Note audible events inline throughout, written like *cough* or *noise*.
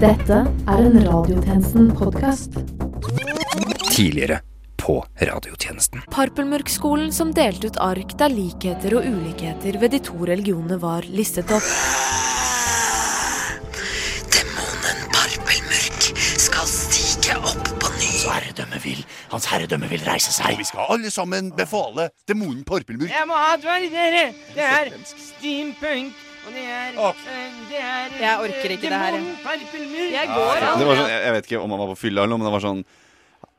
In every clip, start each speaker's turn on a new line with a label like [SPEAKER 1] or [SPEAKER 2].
[SPEAKER 1] Dette er en Radiotjenesten-podkast.
[SPEAKER 2] tidligere på radiotjenesten.
[SPEAKER 3] Parpelmørkskolen som delte ut ark der likheter og ulikheter ved de to religionene var listet opp.
[SPEAKER 4] Demonen Parpelmørk skal stige opp på ny.
[SPEAKER 5] herredømme vil, hans herredømme vil reise seg.
[SPEAKER 6] Vi skal alle sammen befale demonen Parpelmur.
[SPEAKER 7] Jeg må advare dere! Det er steampunk, og det er, eh, det er
[SPEAKER 8] Jeg orker ikke det her. Jeg går, altså.
[SPEAKER 6] Det var sånn, jeg, jeg vet ikke om han var på fylla eller noe, men det var sånn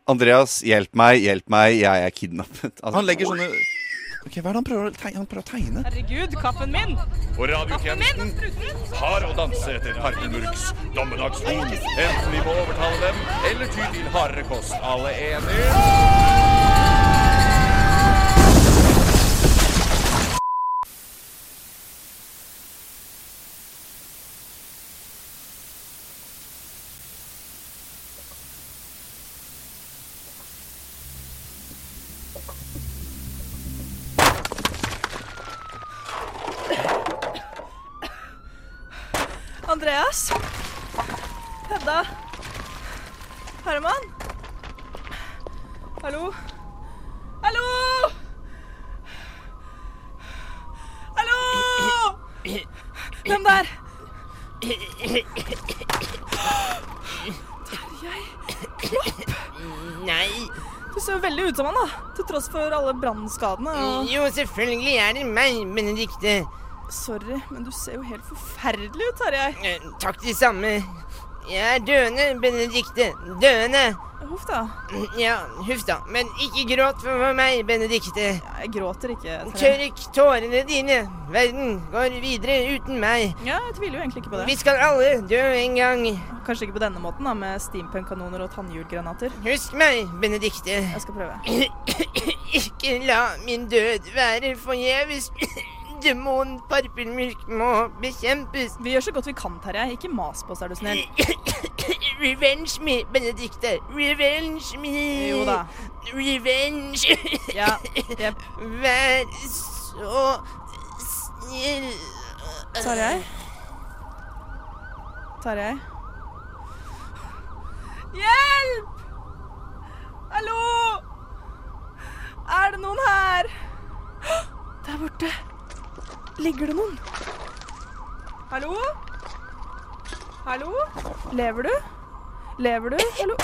[SPEAKER 6] Andreas, hjelp meg, hjelp meg, jeg er kidnappet. Altså, han legger sånne Ok, Hva er det han prøver å tegne? Han prøver å tegne.
[SPEAKER 8] Herregud, kaffen min!
[SPEAKER 5] Og radiotjenesten har å danse etter Parpelmurks dommedagshorn. Enten vi må overtale dem, eller ty til hardere kost. Alle enige?
[SPEAKER 8] Andreas? Hedda? Herman? Hallo? Hallo! Hallo! Hvem der?
[SPEAKER 7] Nei.
[SPEAKER 8] Du ser jo veldig ut som han, da. Til tross for alle brannskadene. Og...
[SPEAKER 7] Jo, selvfølgelig er det meg, Benedikte.
[SPEAKER 8] Sorry, men du ser jo helt forferdelig ut, Tarjei.
[SPEAKER 7] Eh, Takk det samme. Jeg er døende, Benedikte. Døende.
[SPEAKER 8] Huff da.
[SPEAKER 7] Ja, huff da. Men ikke gråt for meg, Benedikte.
[SPEAKER 8] Jeg gråter ikke. Tarjei.
[SPEAKER 7] Tørk tårene dine. Verden går videre uten meg.
[SPEAKER 8] Ja, jeg tviler jo egentlig ikke på
[SPEAKER 7] Vi
[SPEAKER 8] det.
[SPEAKER 7] skal alle dø en gang.
[SPEAKER 8] Kanskje ikke på denne måten, da, med steampunk-kanoner og tannhjulgranater.
[SPEAKER 7] Husk meg, Benedikte.
[SPEAKER 8] Jeg skal prøve.
[SPEAKER 7] *coughs* Ikke la min død være forgjeves. *coughs* Demonen Parpelmyrk må bekjempes.
[SPEAKER 8] Vi gjør så godt vi kan, Terje. Ikke mas på oss, er du snill.
[SPEAKER 7] Revenge me, Benedikte. Revenge me.
[SPEAKER 8] Jo da.
[SPEAKER 7] Revenge.
[SPEAKER 8] Ja.
[SPEAKER 7] *laughs*
[SPEAKER 8] Jepp.
[SPEAKER 7] Vær så snill.
[SPEAKER 8] Tarjei? Tarjei? Hjelp! Hallo! Er det noen her? Der borte ligger det noen. Hallo? Hallo? Lever du? Lever du? Hallo?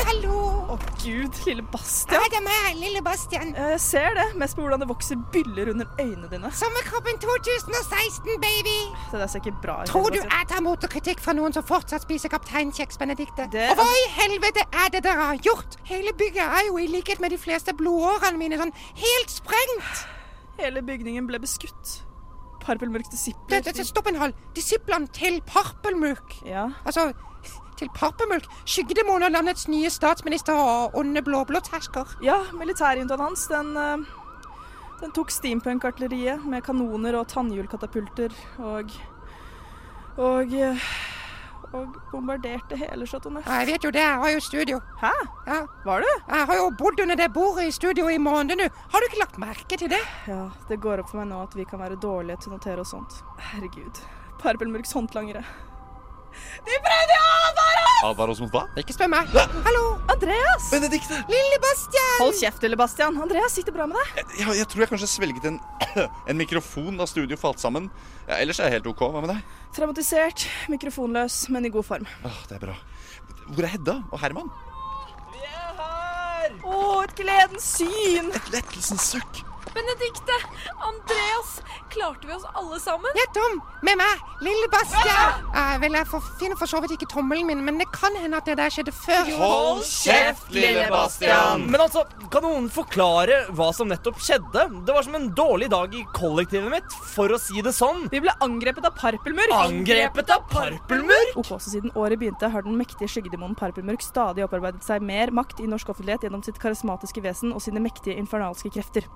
[SPEAKER 4] Hallo,
[SPEAKER 8] Å gud, lille Bastian.
[SPEAKER 4] det er meg, lille Bastian.
[SPEAKER 8] Ja, Jeg ser det, mest på hvordan det vokser byller under øynene dine.
[SPEAKER 4] Sommerkroppen 2016, baby.
[SPEAKER 8] Det der ser ikke bra ut.
[SPEAKER 4] Tror du
[SPEAKER 8] Sebastian.
[SPEAKER 4] jeg tar motorkritikk fra noen som fortsatt spiser kapteinkjeks, Benedikte?
[SPEAKER 8] Det-
[SPEAKER 4] Og hva i helvete er det dere har gjort? Hele bygget er jo i likhet med de fleste blodårene mine sånn helt sprengt.
[SPEAKER 8] Hele bygningen ble beskutt. Parpelmørks
[SPEAKER 4] Det,
[SPEAKER 8] disipler
[SPEAKER 4] det, det, stopp en hal. Disiplene til Parpelmuk.
[SPEAKER 8] Ja.
[SPEAKER 4] Altså, til Parpelmulk, skyggedemoner landets nye statsminister og onde blåblåtersker.
[SPEAKER 8] ja, militærjuntaen hans, den eh, Den tok steampunk-artilleriet med kanoner og tannhjulkatapulter og Og eh, Og bombarderte hele Chateau Neuf.
[SPEAKER 4] Ja, jeg vet jo det, jeg har jo studio.
[SPEAKER 8] Hæ?
[SPEAKER 4] Ja,
[SPEAKER 8] Var du?
[SPEAKER 4] jeg har jo bodd under det bordet i studio i måneder nå. Har du ikke lagt merke til det?
[SPEAKER 8] Ja, det går opp for meg nå at vi kan være dårlige til å notere oss sånt. Herregud. Parpelmørks håndlangere. De prøvde å advare oss!
[SPEAKER 6] Advar oss mot hva?
[SPEAKER 4] Ikke spør meg. Hallo,
[SPEAKER 8] Andreas!
[SPEAKER 6] Benedikte!
[SPEAKER 4] lille Bastian!
[SPEAKER 8] Hold kjeft, lille Bastian. Andreas, sitter det bra med deg?
[SPEAKER 6] Jeg, jeg, jeg tror jeg kanskje svelget en, *clears throat* en mikrofon da studio falt sammen. Ja, ellers er jeg helt OK. Hva med deg?
[SPEAKER 8] Traumatisert, mikrofonløs, men i god form.
[SPEAKER 6] Åh, det er bra. Hvor er Hedda og Herman?
[SPEAKER 8] Å, et gledens syn!
[SPEAKER 6] Et lettelsens søkk.
[SPEAKER 3] Benedikte! Andreas! Klarte vi oss alle sammen?
[SPEAKER 4] Nettom, med meg, lille Bastian! Jeg vil jeg for, finner for så vidt ikke tommelen min, men det kan hende at det der skjedde før.
[SPEAKER 5] Hold kjeft, lille Bastian!
[SPEAKER 9] Men altså, kan noen forklare hva som nettopp skjedde? Det var som en dårlig dag i kollektivet mitt, for å si det sånn.
[SPEAKER 8] Vi ble angrepet av parpelmørk.
[SPEAKER 9] Angrepet av parpelmurk!
[SPEAKER 8] Ok, så Siden året begynte, har den mektige skyggedemonen Parpelmørk stadig opparbeidet seg mer makt i norsk offentlighet gjennom sitt karismatiske vesen og sine mektige infernalske krefter.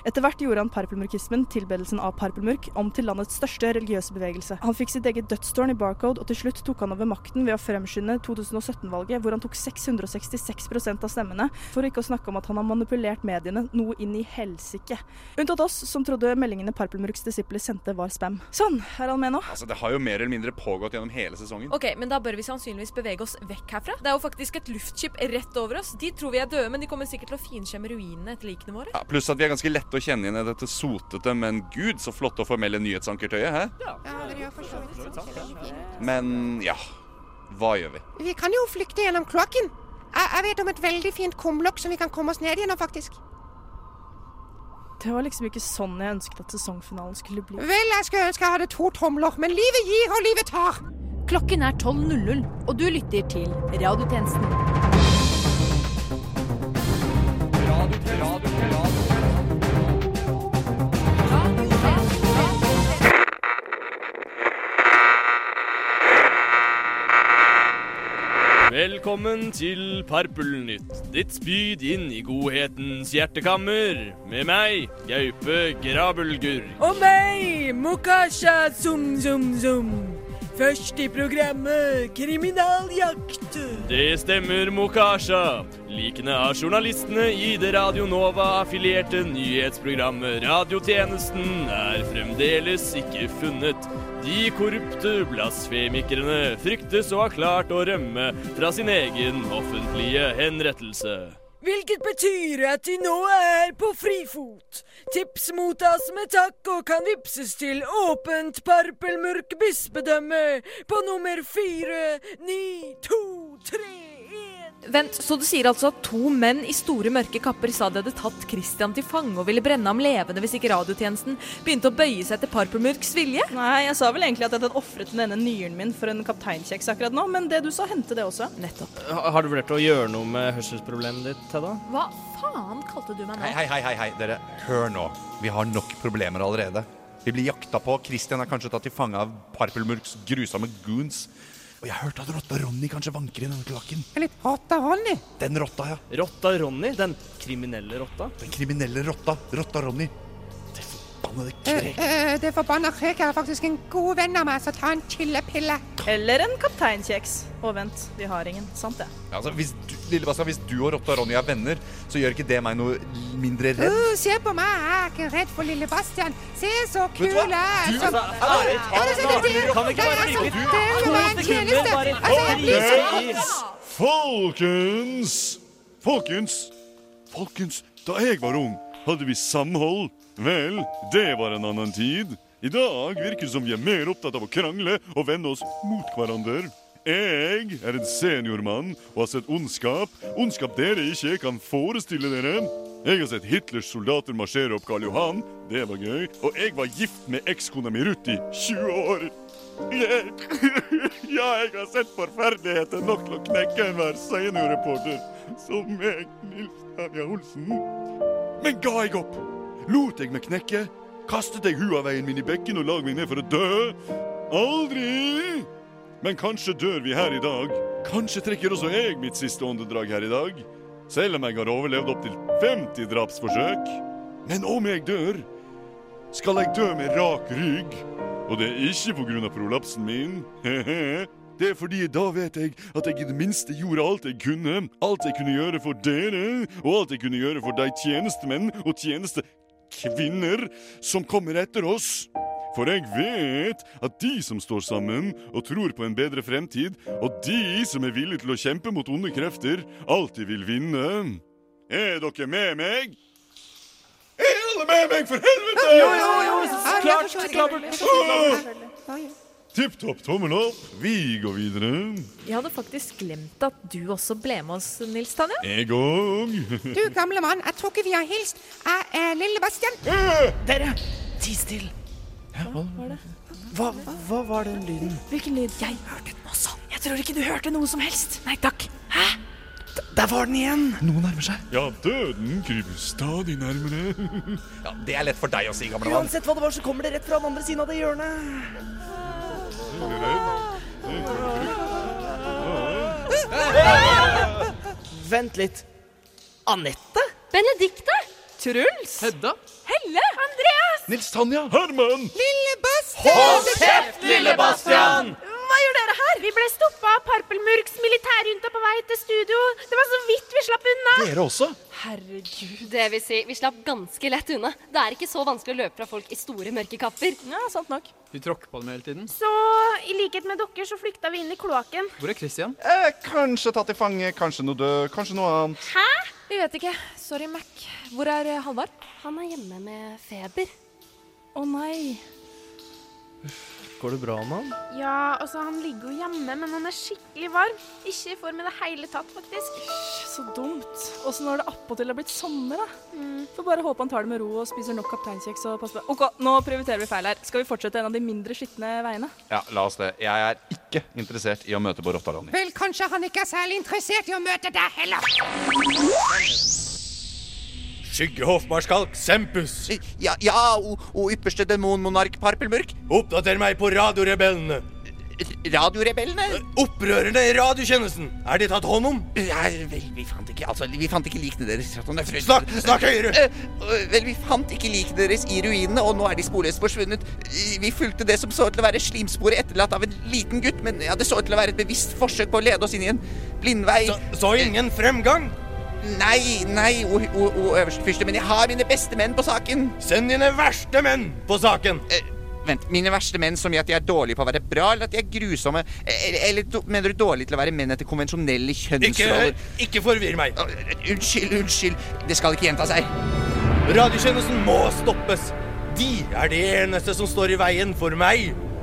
[SPEAKER 8] Etter hvert gjorde han parpelmurkismen, tilbedelsen av parpelmurk, om til landets største religiøse bevegelse. Han fikk sitt eget dødstårn i Barcode, og til slutt tok han over makten ved å fremskynde 2017-valget, hvor han tok 666 av stemmene, for ikke å snakke om at han har manipulert mediene noe inn i helsike. Unntatt oss, som trodde meldingene Parpelmurks disipler sendte var spam. Sånn, er han med nå?
[SPEAKER 6] Altså, Det har jo mer eller mindre pågått gjennom hele sesongen.
[SPEAKER 10] Ok, men da bør vi sannsynligvis bevege oss vekk herfra. Det er jo faktisk et luftskip rett over oss. De tror vi er døde, men de kommer sikkert til å finkjemme ruinene etter likene våre.
[SPEAKER 6] Ja, Pluss at vi er ganske lette å kjenne igjen i dette sotete, men gud, så flotte og formelle nyhetsankertøyet. Hæ? Men ja, hva gjør vi?
[SPEAKER 4] Vi kan jo flykte gjennom kloakken. Jeg, jeg vet om et veldig fint kumlokk som vi kan komme oss ned gjennom, faktisk.
[SPEAKER 8] Det var liksom ikke sånn jeg ønsket at sesongfinalen skulle bli.
[SPEAKER 4] Vel, jeg skulle ønske jeg hadde to tomler, men livet gir og livet tar.
[SPEAKER 1] Klokken er 12.00, og du lytter til Radiotjenesten.
[SPEAKER 11] Velkommen til Parpelnytt, ditt spyd inn i godhetens hjertekammer. Med meg, Gaupe Grabelgurk.
[SPEAKER 12] Og meg, Mokasha Zum Zum Zum. Først i programmet Kriminaljakt.
[SPEAKER 11] Det stemmer, Mokasha. Likene av journalistene i det Radio Nova-affilierte nyhetsprogrammet Radiotjenesten er fremdeles ikke funnet. De korrupte blasfemikerne fryktes å ha klart å rømme fra sin egen offentlige henrettelse.
[SPEAKER 12] Hvilket betyr at de nå er på frifot. Tips mottas med takk og kan vippses til Åpent Parpelmørk bispedømme på nummer fire, ni, to, tre.
[SPEAKER 10] Vent, så du sier altså at to menn i store mørke kapper sa de hadde tatt Christian til fange og ville brenne ham levende hvis ikke radiotjenesten begynte å bøye seg etter Parpelmørks vilje?
[SPEAKER 8] Nei, jeg sa vel egentlig at jeg hadde ofret den ene nyren min for en kapteinkjeks akkurat nå, men det du sa, hendte det også.
[SPEAKER 10] Nettopp.
[SPEAKER 9] Ha- Har du vurdert å gjøre noe med hørselsproblemet ditt, Hedda?
[SPEAKER 10] Hva faen kalte du meg nå?
[SPEAKER 2] Hei, hei, hei, hei, hei, dere. Hør nå. Vi har nok problemer allerede. Vi blir jakta på. Christian er kanskje tatt til fange av Parpelmurks grusomme goons. Og jeg hørte at rotta Ronny kanskje vanker i denne kloakken.
[SPEAKER 4] Litt rotta Ronny.
[SPEAKER 2] Den rotta, ja.
[SPEAKER 9] Rotta Ronny? Den kriminelle rotta?
[SPEAKER 2] Den kriminelle rotta. Rotta Ronny. Det forbannede
[SPEAKER 4] Eh,
[SPEAKER 2] krek.
[SPEAKER 4] eh, det forbanna kreket er faktisk en god venn av meg, så ta en chillepille.
[SPEAKER 8] Eller en kapteinkjeks. Og vent, vi har ingen. Sånn. Sant det.
[SPEAKER 6] Ja, Altså, hvis du, Lillebaska, hvis du og rotta Ronny er venner, så gjør ikke det meg noe l- mindre redd.
[SPEAKER 4] Uh, se på meg, jeg er ikke redd for lille Bastian. Se så kul
[SPEAKER 6] Vet du hva?
[SPEAKER 4] jeg er.
[SPEAKER 6] Du-
[SPEAKER 4] som-
[SPEAKER 6] Altså, ærlig talt,
[SPEAKER 4] Ja, det er sånn, det er-
[SPEAKER 6] kan vi ikke
[SPEAKER 4] det er
[SPEAKER 6] bare
[SPEAKER 4] altså-
[SPEAKER 6] like du?
[SPEAKER 4] Det er jo
[SPEAKER 6] To
[SPEAKER 4] bare en
[SPEAKER 6] sekunder,
[SPEAKER 4] tjeneste.
[SPEAKER 6] bare
[SPEAKER 4] Altså, jeg blir så
[SPEAKER 13] Folkens! Folkens! Folkens, da jeg var ung, hadde vi samhold. Vel, det var en annen tid. I dag virker det som vi er mer opptatt av å krangle og vende oss mot hverandre. Jeg er en seniormann og har sett ondskap. Ondskap dere ikke kan forestille dere. Jeg har sett Hitlers soldater marsjere opp Karl Johan. Det var gøy. Og jeg var gift med ekskona mi Ruth i 20 år. Jeg ja, jeg har sett forferdeligheter nok til å knekke enhver seniorreporter. Som meg, Nils Terje Olsen. Men ga jeg opp? Lot jeg meg knekke? Kastet jeg huaveien min i bekken og lag meg ned for å dø? Aldri! Men kanskje dør vi her i dag. Kanskje trekker også jeg mitt siste åndedrag her i dag. Selv om jeg har overlevd opptil 50 drapsforsøk. Men om jeg dør, skal jeg dø med rak rygg. Og det er ikke på grunn av prolapsen min. *laughs* Det er fordi da vet jeg at jeg i det minste gjorde alt jeg kunne. Alt jeg kunne gjøre for dere, og alt jeg kunne gjøre for de tjenestemenn og tjenestekvinner som kommer etter oss. For jeg vet at de som står sammen og tror på en bedre fremtid, og de som er villige til å kjempe mot onde krefter, alltid vil vinne. Er dere med meg? Er alle med meg, for helvete!
[SPEAKER 4] klart,
[SPEAKER 13] klart. Tipp topp, tommel opp. Vi går videre.
[SPEAKER 10] Jeg hadde faktisk glemt at du også ble med oss, Nils Tanja.
[SPEAKER 13] Jeg òg.
[SPEAKER 4] Du gamle mann, jeg tror ikke vi har hilst. Jeg er lille Bastian.
[SPEAKER 9] Dere! Ti stille. Hva, hva var den lyden?
[SPEAKER 12] Hvilken lyd? Jeg hørte den også. Jeg tror ikke du hørte noe som helst. Nei takk. Hæ?
[SPEAKER 9] Der var den igjen!
[SPEAKER 13] Noen nærmer seg. Ja, døden kryper stadig nærmere.
[SPEAKER 2] Ja, det er lett for deg å si, gamle mann.
[SPEAKER 9] Uansett hva det var, så kommer det rett fra den andre siden av det hjørnet. Vent litt. Anette?
[SPEAKER 14] Benedikte?
[SPEAKER 10] Truls.
[SPEAKER 15] Hedda.
[SPEAKER 10] Helle. Andreas.
[SPEAKER 16] Nils Tanja.
[SPEAKER 13] Herman.
[SPEAKER 4] Lille
[SPEAKER 17] Hold kjeft, lille Bastian!
[SPEAKER 12] Hva gjør dere her? Vi ble stoppa av Parpelmurks militærjunta på vei til studio. Det var så vidt vi slapp unna.
[SPEAKER 16] Dere også?
[SPEAKER 18] Herregud. Det vil si, vi slapp ganske lett unna. Det er ikke så vanskelig å løpe fra folk i store, mørke kapper.
[SPEAKER 8] Ja, sant nok.
[SPEAKER 9] Du tråkker på dem hele tiden.
[SPEAKER 12] Så i likhet med dere så flykta vi inn i kloakken.
[SPEAKER 9] Hvor er Christian?
[SPEAKER 6] Eh, kanskje tatt til fange, kanskje noe død, kanskje noe annet.
[SPEAKER 12] Hæ?
[SPEAKER 10] Vi vet ikke. Sorry, Mac. Hvor er eh, Halvard?
[SPEAKER 18] Han er hjemme med feber.
[SPEAKER 10] Å nei.
[SPEAKER 11] Går det bra med han?
[SPEAKER 12] Ja, og så han ligger jo hjemme, men han er skikkelig varm. Ikke i form i det hele tatt, faktisk.
[SPEAKER 8] Så dumt. Og så når det appåtil har blitt sommer, da.
[SPEAKER 12] Mm.
[SPEAKER 8] Får bare håpe han tar det med ro og spiser nok kapteinkjeks og passer på. OK, nå prioriterer vi feil her. Skal vi fortsette en av de mindre skitne veiene?
[SPEAKER 6] Ja, la oss det. Jeg er ikke interessert i å møte på rotta, Ronny.
[SPEAKER 4] Vel, kanskje han ikke er særlig interessert i å møte deg heller.
[SPEAKER 19] Skyggehoffmarskalk Sempus. Ja, ja, o, o ypperste demonmonark Parpelmørk. Oppdater meg på radiorebellene. Radiorebellene? Opprørerne i radiotjenesten. Er de tatt hånd om?
[SPEAKER 20] vel, vi fant ikke Altså, vi fant ikke likene deres. At han er frøst.
[SPEAKER 19] Snakk, snakk høyere!
[SPEAKER 20] Eh, eh, vel, vi fant ikke likene deres i ruinene, og nå er de sporløst forsvunnet. Eh, Vi fulgte det som så ut til å være slimspor etterlatt av en liten gutt, men ja, det så ut til å være et bevisst forsøk på å lede oss inn i en blindvei. Så, ingen fremgang? Nei, nei, o, o, o øverstfyrste, men jeg har mine beste menn på saken. Send dine verste menn på saken.
[SPEAKER 19] Vent,
[SPEAKER 20] mine verste menn som gjør at de er dårlige på å være bra, eller at de er grusomme? Eller, eller do- mener du dårlige til å være menn etter konvensjonelle kjønnsroller?
[SPEAKER 19] Ikke, ikke forvirr meg.
[SPEAKER 20] eh, Unnskyld, unnskyld. Det skal ikke gjenta seg.
[SPEAKER 19] Radiotjenesten må stoppes. De er de eneste som står i veien for meg.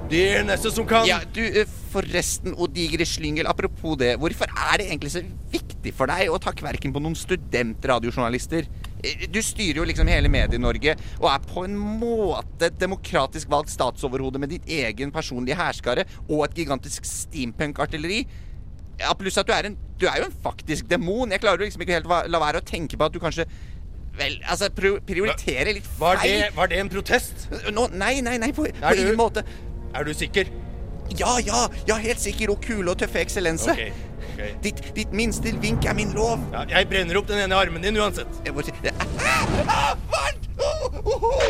[SPEAKER 19] De eneste som kan
[SPEAKER 20] Ja, du, eh, forresten, o digre slyngel, apropos det. Hvorfor er det egentlig så viktig for deg å ta kverken på noen studentradiojournalister? Eh, Du styrer jo liksom hele Medie-Norge og er på en måte et demokratisk valgt statsoverhode med din egen personlige hærskare og et gigantisk steampunk-artilleri. Ja, pluss at du er, en, du er jo en faktisk demon. Jeg klarer jo liksom ikke helt å la være å tenke på at du kanskje Vel, altså, pri- prioritere litt feil.
[SPEAKER 19] Var det, var det en protest?
[SPEAKER 20] Nå, nei, nei, nei, på, på
[SPEAKER 19] Er du-
[SPEAKER 20] ingen måte.
[SPEAKER 19] Er du sikker?
[SPEAKER 20] Ja, ja, ja, helt sikker og kule og tøffe eksellense.
[SPEAKER 19] Ok, ok.
[SPEAKER 20] Ditt, ditt minste vink er min lov.
[SPEAKER 19] Ja, jeg brenner opp den ene armen din uansett.
[SPEAKER 20] *laughs* Ah, varmt! Oh, oh, oh!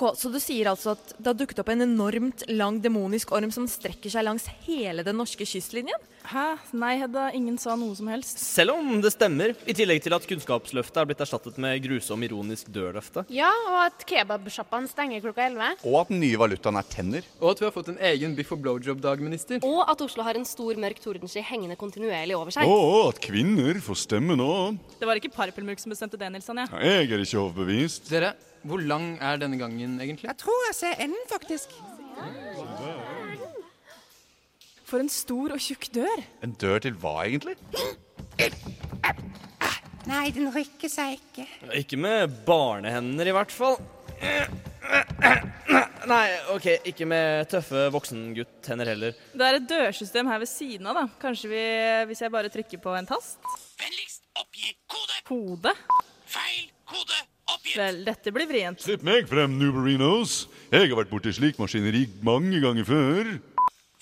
[SPEAKER 10] Ok, Så du sier altså at det har dukket opp en enormt lang demonisk orm som strekker seg langs hele den norske kystlinjen?
[SPEAKER 8] Hæ? Nei, Hedda. Ingen sa noe som helst.
[SPEAKER 11] Selv om det stemmer, i tillegg til at Kunnskapsløftet er blitt erstattet med grusom ironisk dødløfte.
[SPEAKER 12] Ja, og at kebabsjappene stenger klokka elleve.
[SPEAKER 6] Og at den nye valutaen er tenner.
[SPEAKER 9] Og at vi har fått en egen biff og blowjob-dag, minister.
[SPEAKER 18] Og at Oslo har en stor, mørk tordensky hengende kontinuerlig over seg.
[SPEAKER 13] Og at kvinner får stemme nå.
[SPEAKER 8] Det var ikke Parpelmurk som bestemte det, Nils Anja.
[SPEAKER 13] Jeg er ikke overbevist.
[SPEAKER 9] Dere, hvor lang er denne gangen egentlig?
[SPEAKER 4] Jeg tror jeg ser enden, faktisk.
[SPEAKER 8] For en stor og tjukk dør.
[SPEAKER 16] En dør til hva, egentlig?
[SPEAKER 4] Nei, den rykker seg ikke.
[SPEAKER 11] Ikke
[SPEAKER 9] Eh,
[SPEAKER 11] med *coughs* barnehender, i hvert fall. Nei, OK, ikke med tøffe voksengutthender heller.
[SPEAKER 8] Det er et dørsystem her ved siden av, da. Kanskje vi, hvis jeg bare trykker på en tast? Vennligst oppgi kode. Kode? Feil kode oppgitt. Vel, dette blir vrient.
[SPEAKER 13] Slipp meg frem, Nuberinos. Jeg har vært borti slik maskineri mange ganger før.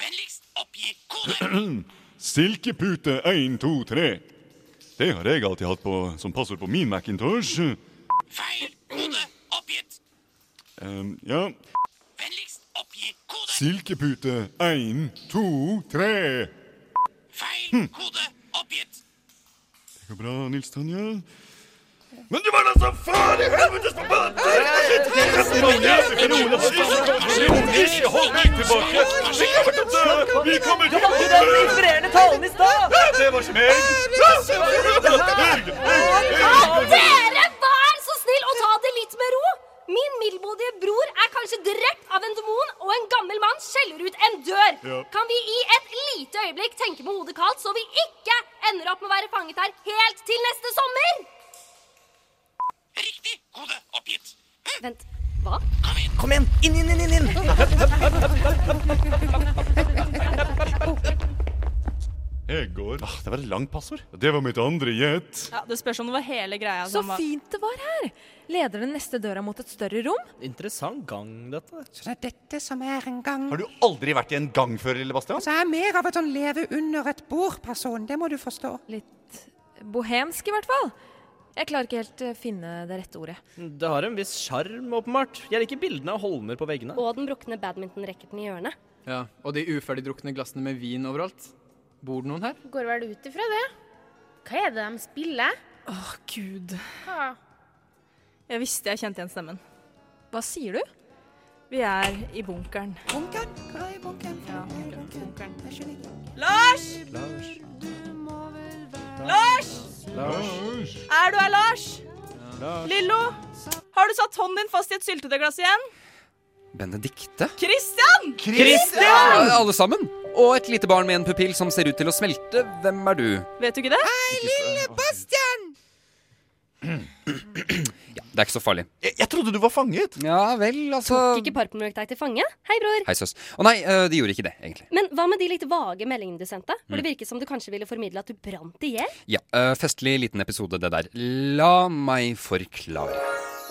[SPEAKER 8] Vennligst oppgi
[SPEAKER 13] Silkepute 1, 2, 3. Det har jeg alltid hatt på, som passord på min Macintosh.
[SPEAKER 8] Feil kode oppgitt.
[SPEAKER 13] Ehm, ja.
[SPEAKER 8] Vennligst oppgi kode.
[SPEAKER 13] Silkepute 1, 2, 3. Feil
[SPEAKER 8] kode oppgitt.
[SPEAKER 13] Det går bra, Nils Tanja. Men du var da så faen i helvetes
[SPEAKER 21] Hold deg tilbake! Vi kommer til å dø! Vi kommer til å dø!
[SPEAKER 17] Inspirerende talen i stad!
[SPEAKER 21] Det var ikke meg!
[SPEAKER 18] Dere, vær så snill å ta det litt med ro! Min middelmådige bror er kanskje drept av en demon, og en gammel mann skjeller ut en dør.
[SPEAKER 12] Ja.
[SPEAKER 18] Kan vi i et lite øyeblikk tenke med hodet kaldt, så vi ikke ender opp med å være fanget her helt til neste sommer? Riktig kode oppgitt. Vent, hva?
[SPEAKER 17] Kom igjen! Inn, inn, inn! inn,
[SPEAKER 13] Jeg går. Ah,
[SPEAKER 16] det var et langt passord.
[SPEAKER 13] Det var mitt andre gjett.
[SPEAKER 8] Ja, Det spørs om det var hele greia.
[SPEAKER 10] Så
[SPEAKER 8] som var-
[SPEAKER 10] fint det var her! Leder den neste døra mot et større rom?
[SPEAKER 11] Interessant gang, dette.
[SPEAKER 4] Så det Sånn er dette som er en gang.
[SPEAKER 16] Har du aldri vært i en gang før, lille Bastian?
[SPEAKER 4] Så jeg er mer av et sånn leve under et bord-person. Det må du forstå.
[SPEAKER 10] Litt Bohemsk, i hvert fall. Jeg klarer ikke helt eh, finne det rette ordet.
[SPEAKER 9] Det har en viss sjarm, åpenbart. Jeg liker bildene av holmer på veggene.
[SPEAKER 18] Og den brukne badmintonracketen i hjørnet.
[SPEAKER 22] Ja, Og de uferdigdrukne glassene med vin overalt. Bor det noen her?
[SPEAKER 14] Går vel ut ifra det. Hva er det de spiller?
[SPEAKER 8] Åh, gud.
[SPEAKER 14] Hva?
[SPEAKER 8] Jeg visste jeg kjente igjen stemmen. Hva sier du? Vi er i bunkeren. Bunkeren? Hva er bunkeren? Ja, bunkeren. Lars!
[SPEAKER 7] Lars!
[SPEAKER 8] Lars!
[SPEAKER 7] Lars!
[SPEAKER 8] Er du her, Lars?
[SPEAKER 7] Lars.
[SPEAKER 8] Lillo? Har du satt hånden din fast i et syltetøyglass igjen?
[SPEAKER 17] Benedikte?
[SPEAKER 8] Christian!
[SPEAKER 17] Ja, alle sammen? Og et lite barn med en pupill som ser ut til å smelte. Hvem er du?
[SPEAKER 8] Vet du ikke det?
[SPEAKER 4] Hei, lille Bastian!
[SPEAKER 17] Det er ikke så farlig.
[SPEAKER 6] Jeg, trodde du var fanget.
[SPEAKER 17] Ja vel, altså
[SPEAKER 18] Tok ikke Parkmørk deg til fange? Hei, bror.
[SPEAKER 17] Hei, søs. Å nei, eh, de gjorde ikke det, egentlig.
[SPEAKER 18] Men hva med de litt vage meldingene du sendte? Hvor det virket som du kanskje ville formidle at du brant i hjel?
[SPEAKER 17] Ja, eh, festlig liten episode, det der. La meg forklare.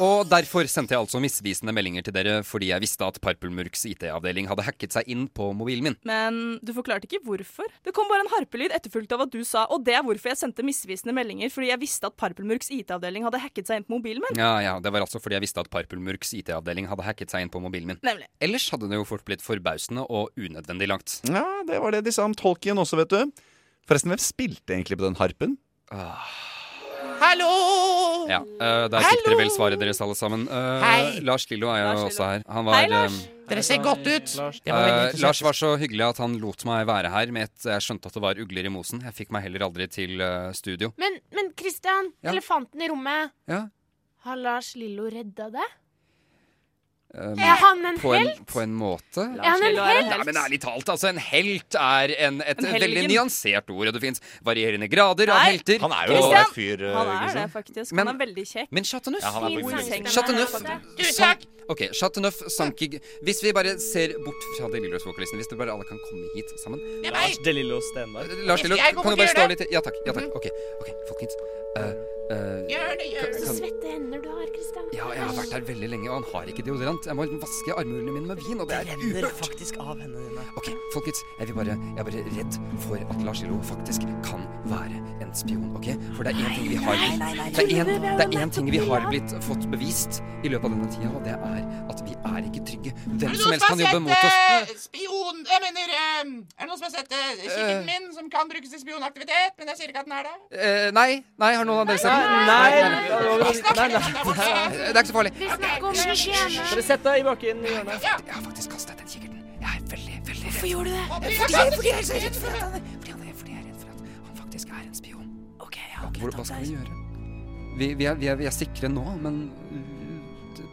[SPEAKER 17] Og derfor sendte jeg altså misvisende meldinger til dere fordi jeg visste at Parpelmurks IT-avdeling hadde hacket seg inn på mobilen min.
[SPEAKER 8] Men du forklarte ikke hvorfor. Det kom bare en harpelyd etterfulgt av at du sa, og det er hvorfor jeg sendte misvisende meldinger, fordi jeg visste at Parpelmurks IT-avdeling hadde hacket seg inn på mobilen *laughs* min.
[SPEAKER 17] Ja, ja, det var altså fordi jeg visste at Parpelmurks IT-avdeling hadde hacket seg inn på mobilen min.
[SPEAKER 8] Nemlig.
[SPEAKER 17] Ellers hadde det jo fort blitt forbausende og unødvendig langt.
[SPEAKER 6] Ja, det var det de sa om Tolkien også, vet du. Forresten, hvem spilte egentlig på den harpen?
[SPEAKER 4] Hallo!
[SPEAKER 17] Ah, Ja, eh, der fikk dere vel svaret deres, alle sammen. Eh,
[SPEAKER 4] Hei!
[SPEAKER 17] Lars Lillo er jo også her. Han var,
[SPEAKER 4] Hei, Lars!
[SPEAKER 17] eh,
[SPEAKER 4] Dere ser godt ut.
[SPEAKER 17] Eh, Lars var så hyggelig at han lot meg være her med et Jeg skjønte at det var ugler i mosen. Jeg fikk meg heller aldri til eh, studio.
[SPEAKER 14] Men, men Christian,
[SPEAKER 17] Ja.
[SPEAKER 14] elefanten i rommet.
[SPEAKER 17] Ja.
[SPEAKER 14] Har Lars Lillo redda deg?
[SPEAKER 17] Um,
[SPEAKER 14] Er han en
[SPEAKER 17] på
[SPEAKER 14] helt?
[SPEAKER 17] På en måte.
[SPEAKER 14] Er han en Lars Lillo er en helt? helt?
[SPEAKER 17] Ja, men ærlig talt, altså. En helt er en, et
[SPEAKER 8] En helgen.
[SPEAKER 17] veldig nyansert ord, og det fins varierende grader av
[SPEAKER 8] Nei,
[SPEAKER 17] helter.
[SPEAKER 8] Han er jo Christian, ålreit fyr,
[SPEAKER 6] eh,
[SPEAKER 8] Han er det, faktisk.
[SPEAKER 17] Men-
[SPEAKER 8] han er veldig kjekk.
[SPEAKER 17] Men Chateauneuf
[SPEAKER 8] Ja, han er Fin veldig sangstemme. kjekk.
[SPEAKER 17] Chateauneuf
[SPEAKER 8] Du
[SPEAKER 17] sank- Ok, Chateauneuf sank i Hvis vi bare ser bort fra De Lillos-vokalisten Hvis dere bare alle kan komme hit sammen
[SPEAKER 9] Lars DeLillo Stenberg.
[SPEAKER 17] Lars Lillo, kan du bare stå litt Ja takk, ja takk. Ok, ok, folkens. Eh, eh,
[SPEAKER 14] Gjør det, gjør det.
[SPEAKER 17] kan-
[SPEAKER 14] Så svette hender du har, Christian.
[SPEAKER 17] Ja, jeg har vært her veldig lenge, og han har ikke deodorant. Jeg må vaske armhulene mine med vin, og det er uhørt.
[SPEAKER 9] faktisk av hendene dine.
[SPEAKER 17] Ok, folkens, jeg, vil bare, jeg er bare redd for at Lars Lillo faktisk kan være en spion, ok? For det er én ting vi har
[SPEAKER 9] Nei, nei, nei, nei.
[SPEAKER 17] blitt Det er en, det er en ting vi har blitt fått bevist i løpet av denne tida, og det er at vi er ikke trygge. Hvem som helst kan jobbe mot oss.
[SPEAKER 4] Eh, Spion Jeg mener eh, Er det noen som har sett eh, kikken
[SPEAKER 17] Eh.
[SPEAKER 4] min, som kan brukes til spionaktivitet? Men jeg sier ikke at den er det.
[SPEAKER 17] Eh, nei, nei, har noen av dere sett den?
[SPEAKER 9] Nei,
[SPEAKER 4] nei, nei.
[SPEAKER 17] Eh, Det er ikke så farlig.
[SPEAKER 9] Dere sett deg i bakken i hjørnet.
[SPEAKER 17] Jeg har faktisk kastet den kikkerten. Jeg er veldig, veldig redd.
[SPEAKER 9] Hvorfor gjorde du det?
[SPEAKER 17] Fordi, fordi jeg er så redd for at han fordi han er, fordi jeg er redd for at han faktisk er en spion. Ok, Hvor, Hva skal vi gjøre? Vi, vi, er, vi, er, vi er sikre nå, men uh,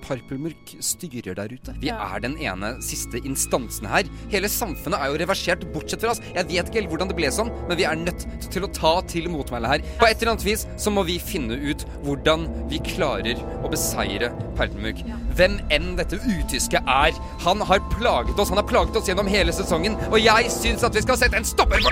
[SPEAKER 17] Parpelmørk styrer der ute. Vi
[SPEAKER 9] Ja.
[SPEAKER 17] er den ene siste instansen her. Hele samfunnet er jo reversert, bortsett fra oss. Jeg vet ikke helt hvordan det ble sånn, men vi er nødt til å ta til motmæle her. På et eller annet vis så må vi finne ut hvordan vi klarer å beseire Parpelmørk. Hvem enn dette utyske er. Han har plaget oss. Han har plaget oss gjennom hele sesongen, og jeg syns at vi skal sette en stopper for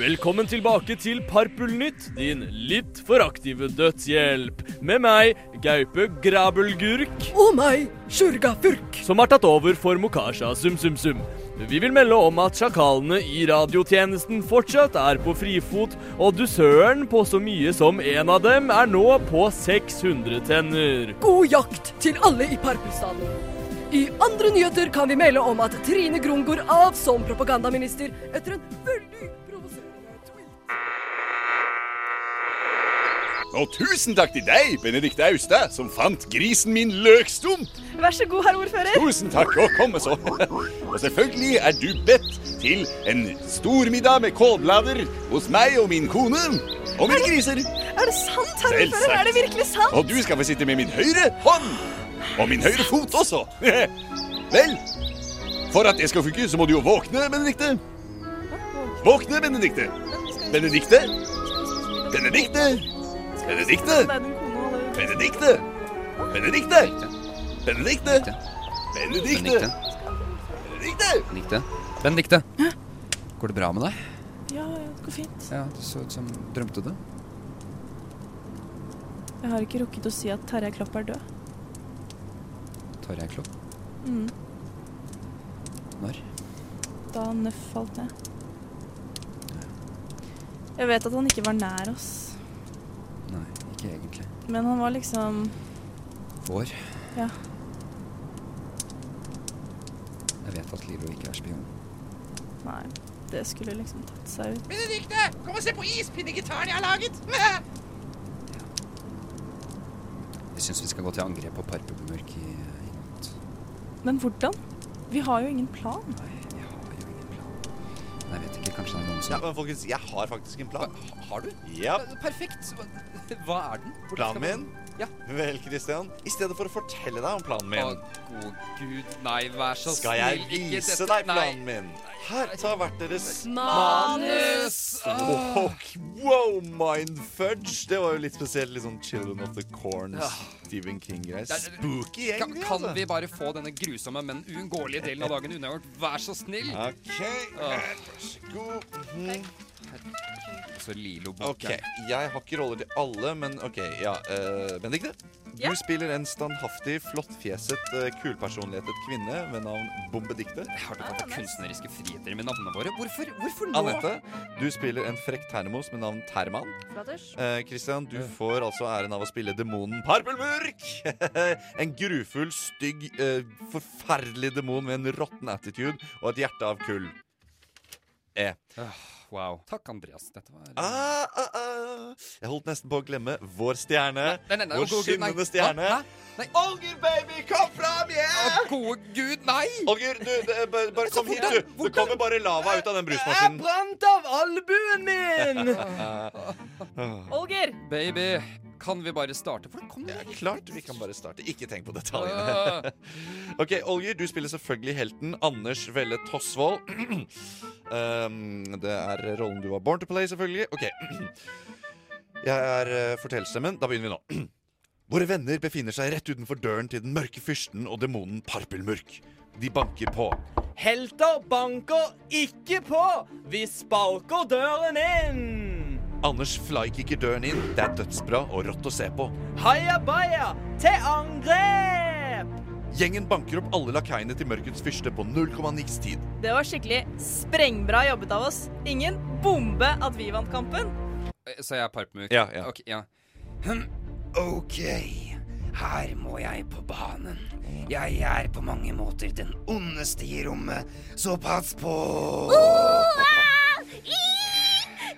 [SPEAKER 11] Velkommen tilbake til Parpulnytt, din litt for aktive dødshjelp. Med meg, Gaupe Grabelgurk.
[SPEAKER 12] Og meg, Sjurga Furk.
[SPEAKER 11] Som har tatt over for Mokasha Sum-Sum-Sum. Vi vil melde om at sjakalene i radiotjenesten fortsatt er på frifot, og dusøren på så mye som en av dem er nå på 600 tenner.
[SPEAKER 12] God jakt til alle i Parpelstaden. I andre nyheter kan vi melde om at Trine Grung går av som propagandaminister etter en veldig
[SPEAKER 13] Og tusen takk til deg, Benedikte Austad, som fant grisen min løkstump.
[SPEAKER 8] Vær så god, herr ordfører.
[SPEAKER 13] Tusen takk, og kom med så. Og selvfølgelig er du bedt til en stormiddag med kålblader hos meg og min kone og mine griser.
[SPEAKER 8] Er det sant, herr ordfører?
[SPEAKER 13] Selvsagt.
[SPEAKER 8] Er det virkelig sant?
[SPEAKER 13] Og du skal få sitte med min høyre hånd. Og min høyre fot også. *laughs* Vel, for at det skal funke, så må du jo våkne, Benedikte. Våkne, Benedikte. Benedikte. Benedikte. Benedikte. Benedikte. Benedikte. Benedikte. Benedikte.
[SPEAKER 17] Benedikte. Benedikte. Går det bra med deg?
[SPEAKER 8] Ja, ja, det går fint.
[SPEAKER 17] Ja, det så ut som drømte du.
[SPEAKER 8] Jeg har ikke rukket å si at Terje Klopp er død.
[SPEAKER 17] Tarjei Klopp.
[SPEAKER 8] Mm.
[SPEAKER 17] Når?
[SPEAKER 8] Da Nøff falt ned. Jeg vet at han ikke var nær oss,
[SPEAKER 17] Nei, ikke egentlig.
[SPEAKER 8] men han var liksom
[SPEAKER 17] Vår.
[SPEAKER 8] Ja.
[SPEAKER 17] Jeg vet at Lilo ikke er spion.
[SPEAKER 8] Nei, det skulle liksom tatt seg ut.
[SPEAKER 4] Benedikte, kom og se på ispinnegitaren jeg har laget!
[SPEAKER 17] Jeg syns vi skal gå til angrep på Parpelmørk i, i natt.
[SPEAKER 8] Men hvordan? Vi har jo ingen plan.
[SPEAKER 17] Nei, jeg vet ikke. Kanskje det er noen som
[SPEAKER 6] Ja, men folkens, jeg har faktisk en plan.
[SPEAKER 17] Har du?
[SPEAKER 6] Ja.
[SPEAKER 17] Perfekt. Hva er den? Hvordan
[SPEAKER 6] Planen
[SPEAKER 17] skal
[SPEAKER 6] min?
[SPEAKER 17] man-
[SPEAKER 6] Vel, Christian, i stedet for å fortelle deg om planen min,
[SPEAKER 17] Å, god gud, nei, vær så
[SPEAKER 6] skal jeg
[SPEAKER 17] snill. ikke
[SPEAKER 6] vise
[SPEAKER 17] dette-
[SPEAKER 6] deg
[SPEAKER 17] nei.
[SPEAKER 6] planen min. Her, ta hvert deres
[SPEAKER 17] Manus! Ah.
[SPEAKER 6] Wow, wow, mind fudge. Det var jo litt spesielt. Litt sånn Children of the Corn,
[SPEAKER 17] Ja.
[SPEAKER 6] Stephen King-greier.
[SPEAKER 17] Ah. Det er-
[SPEAKER 6] Spooky gjeng,
[SPEAKER 17] Kan,
[SPEAKER 6] vi,
[SPEAKER 17] kan
[SPEAKER 6] altså.
[SPEAKER 17] vi bare få denne grusomme, men uunngåelige delen av dagen unnagjort? Vær så snill!
[SPEAKER 6] Ok,
[SPEAKER 17] Åh.
[SPEAKER 6] vær så god. Mhm.
[SPEAKER 17] Så Lilo
[SPEAKER 6] Ok, jeg har ikke roller til alle, men ok, ja. eh, Benedikte, du
[SPEAKER 17] Ja?
[SPEAKER 6] spiller en standhaftig, flottfjeset, eh, kulpersonlighetet kvinne ved navn Bombedikte. Jeg
[SPEAKER 17] har tatt av kunstneriske friheter med navnene våre. Hvorfor, hvorfor nå?
[SPEAKER 6] Anette, du spiller en frekk termos med navn Terman.
[SPEAKER 17] Flatters.
[SPEAKER 6] Eh, Christian, du får altså æren av å spille demonen Parpelmurk. *laughs* en grufull, stygg, eh, forferdelig demon med en råtten attitude og et hjerte av kull. E.
[SPEAKER 17] Ah, Wow. Takk, Andreas. Dette var eh,
[SPEAKER 6] Ah, ah, ah. Jeg holdt nesten på å glemme vår stjerne.
[SPEAKER 17] Nei, nei, nei,
[SPEAKER 6] vår
[SPEAKER 17] å, gode Gud, nei.
[SPEAKER 6] skinnende stjerne.
[SPEAKER 17] Hva? Nei.
[SPEAKER 6] Olger, baby, kom fram! Yeah!
[SPEAKER 17] Gode gud, nei!
[SPEAKER 6] Olger, du, det, Eh, bare, bare kom hit, du. Det kommer bare lava ut av den
[SPEAKER 7] Jeg
[SPEAKER 6] brusmaskinen.
[SPEAKER 7] brant av albuen
[SPEAKER 9] *laughs*
[SPEAKER 7] min!
[SPEAKER 6] *laughs* Ah.
[SPEAKER 17] *laughs*
[SPEAKER 10] Olger!
[SPEAKER 17] Baby, kan vi bare starte? Hvordan kom det? Ah.
[SPEAKER 6] Klart vi kan bare starte. Ikke tenk på detaljene. *laughs* ok, Olger, du spiller selvfølgelig helten Anders Velle *clears throat* Tosvold. um, det er rollen du var born to play, selvfølgelig. Ok. *clears throat* Jeg er eh, fortellerstemmen. Da begynner vi nå. *clears throat* Våre venner befinner seg rett utenfor døren til den mørke fyrsten og demonen Parpelmurk. De banker på.
[SPEAKER 7] Helter banker ikke på! Vi sparker døren inn!
[SPEAKER 6] Anders flykicker døren inn. Det er dødsbra og rått å se på.
[SPEAKER 7] Hayabaya til angrep!
[SPEAKER 6] Gjengen banker opp alle lakeiene til mørkets fyrste på 0,9s tid.
[SPEAKER 23] Det var skikkelig sprengbra jobbet av oss. Ingen bombe at vi vant kampen.
[SPEAKER 17] Eh, Så jeg er parpmurk?
[SPEAKER 6] Ja, ja.
[SPEAKER 17] Ok, ja.
[SPEAKER 24] Ok, her må jeg på banen. Jeg er på mange måter den ondeste i rommet, så pass på
[SPEAKER 18] Åh, ah! I!